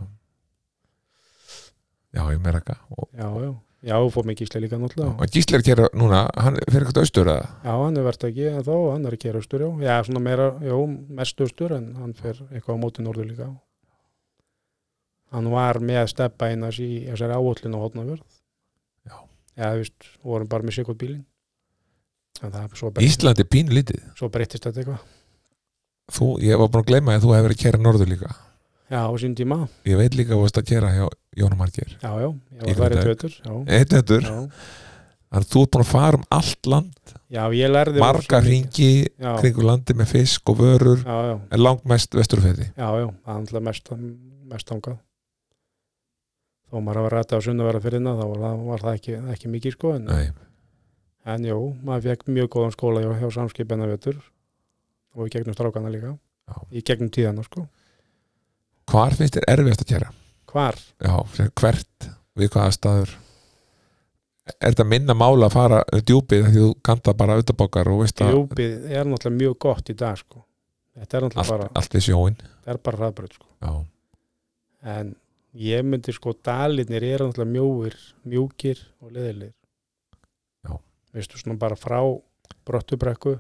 A: já, ég meira ekka og,
B: já, já, já, og fór með Gísli líka náttúrulega
A: og Gísli er að gera núna hann fer eitthvað austur að
B: já, hann er verðt ekki en þá, hann er ekki austur já, já svona meira, já, mest austur en hann fer eitthvað á móti Norður líka hann var með að steppa einas í þessari áallin á hotnaverð
A: Já.
B: já, þú veist, vorum bara með sikot bílin en það er svo breytist,
A: Ísland er pínlítið
B: svo breytist þetta eitthvað
A: þú, ég var búin að gleyma að þú hefur verið að kæra norður líka
B: já, á sín tíma,
A: ég veit líka að þú varst að kæra hjá Jónum Margeir
B: já, já,
A: Í
B: ég var þar í
A: Grindavík.
B: tveitur já,
A: einn hendur,
B: já
A: þannig að þú ert búin að fara um allt land
B: Já, ég lærði
A: marga
B: rosa mikið.
A: ringi
B: já,
A: kringu landi með fisk og vörur
B: já, já,
A: en langmest vesturfæði
B: já, já, það er alltaf mest, mest þangað þó maður hafa rætt á sunnuvera fyrir þá var, það- var það ekki, ekki mikið sko en,
A: Nei,
B: en jú, maður fekk mjög góðan skóla hjá, hjá samskipenna vettur og í gegnum strákana líka
A: Já.
B: í gegnum tíðana sko
A: Hvar finnst þér erfiðast að gera?
B: hvar,
A: Já, fyrir hvert, við hvaða staður Er þetta minna mála að fara um djúpið af því þú kanta bara auðabókar og veist að
B: djúpið er náttúrulega mjög gott í dag sko þetta er náttúrulega
A: allt,
B: bara,
A: allt við sjóin
B: þetta er bara hraðbröð sko
A: Já,
B: en ég myndi sko dalinir eru náttúrulega mjóir, mjúkir og leðilegir
A: Já.
B: veistu svona bara frá brottubrekku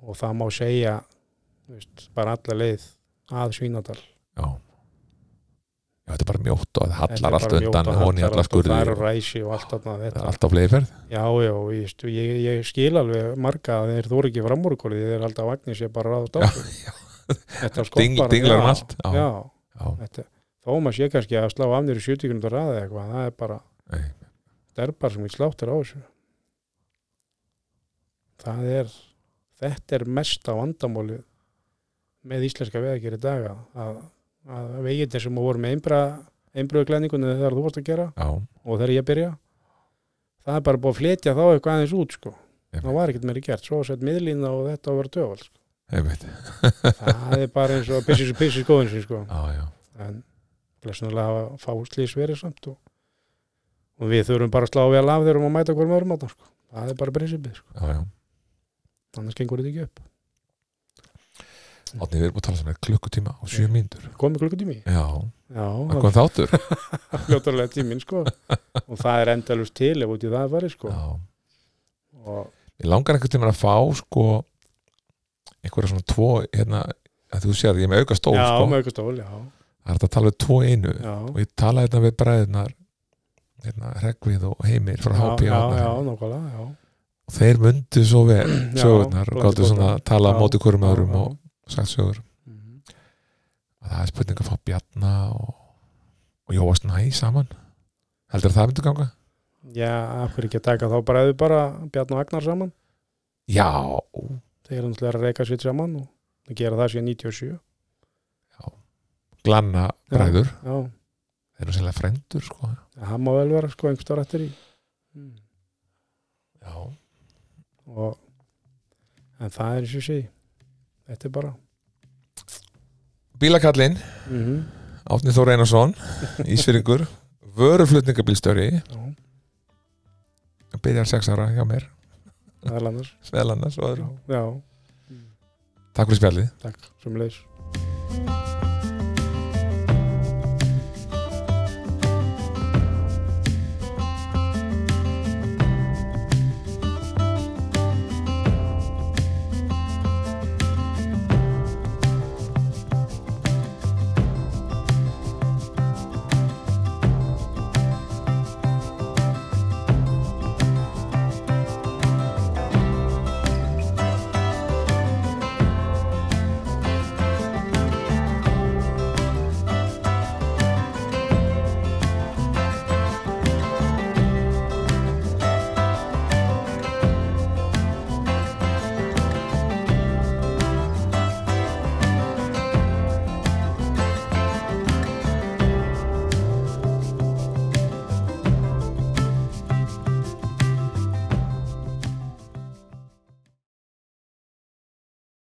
B: og það má segja veist, bara alla leið að Svínadal
A: já Já, þetta er bara mjótt og það
B: Þetta er
A: hallar allt
B: bara mjótt
A: undan
B: og
A: og hún í
B: hallar
A: alla
B: allt og
A: skurði
B: það eru ræsi og allt þarna þetta
A: allt á fleiðferð
B: já, já, veistu, ég, ég skil alveg marga að þeir þóru ekki framúrkóli þeir halda að vagnir sér bara ráðast á sig.
A: já,
B: þetta sko
A: Ding- dinglar um allt, já.
B: já, já.
A: já,
B: þetta, þó maður sé kannski að slá af nýri 70 grunum ræði eða eitthvað, það er bara
A: Nei.
B: það er bara sem við sláttir á þessu það er þetta er mesta vandamáli með íslenska veðakir í dag að- að, að vegindir sem voru með einbra einbröðuglæningunni þegar þú vorst að gera
A: já,
B: og þegar ég byrja það er bara búið að fletja þá eitthvað aðeins út sko.
A: Einmitt.
B: það var ekkert meiri gert, svo sett miðlína og þetta á að vera döfald sko.
A: einmitt
B: það er bara eins og pissis og pissis góðins sko
A: Já, já,
B: en blessunulega hafa fá slís verið samt og, og við þurfum bara að slá vel af þeirrum að mæta hverjum öðrum átna sko. það er bara prinsipið, sko.
A: já, já
B: annars gengur þetta ekki upp
A: Átni, við erum búin að tala saman í klukkutíma og sjö
B: Nei.
A: mínútur
B: komið klukkutími,
A: Já,
B: já,
A: það kom þáttur
B: sko. það er fljóttarlega tíminn sko. og það er endalust til ef út í það farið sko.
A: Já
B: og
A: Ég langar einhvern tímann að fá sko einhverja svona tvo hérna, að þú sér, ég er með auka stól
B: já,
A: sko.
B: með eitthvað stól, já,
A: það er hægt að tala við tvo í einu
B: já.
A: og ég talaði þetta við bræðinar hérna, Hregvið og Heimir frá
B: Já,
A: HP
B: já,
A: hérna.
B: já, nákvæmlega, já.
A: og þeir mundu svo vel
B: Já,
A: sögurnar og
B: blandi
A: gáttu svona
B: gott.
A: að tala á
B: Já,
A: móti hverjum
B: já,
A: öðrum
B: já.
A: og sagt sögur
B: Mhm.
A: að það er spurning að fá Bjarna og, og Jóa Snæ saman heldur það myndi ganga?
B: já, af hverju ekki að taka þá bara eða bara Bjarn og Agnar saman
A: Já,
B: þeir eru náttúrulega að reyka sitt saman og gera það síðan 97
A: glanna bræður
B: já,
A: þeir eru sérlega frendur sko
B: það má vel vera sko, einhverstað rættir í mm.
A: Já,
B: og en það er eins og sé þetta er bara
A: bílakallinn
B: mm -hmm.
A: Átni Þór Einarsson Ísfyrringur, vöruflutningabílstöri byrjar sex ára hjá mér,
B: það er annars
A: meðal annars og öðru
B: já,
A: Takk fyrir spjallið
B: takk, sem leys
A: Thank you.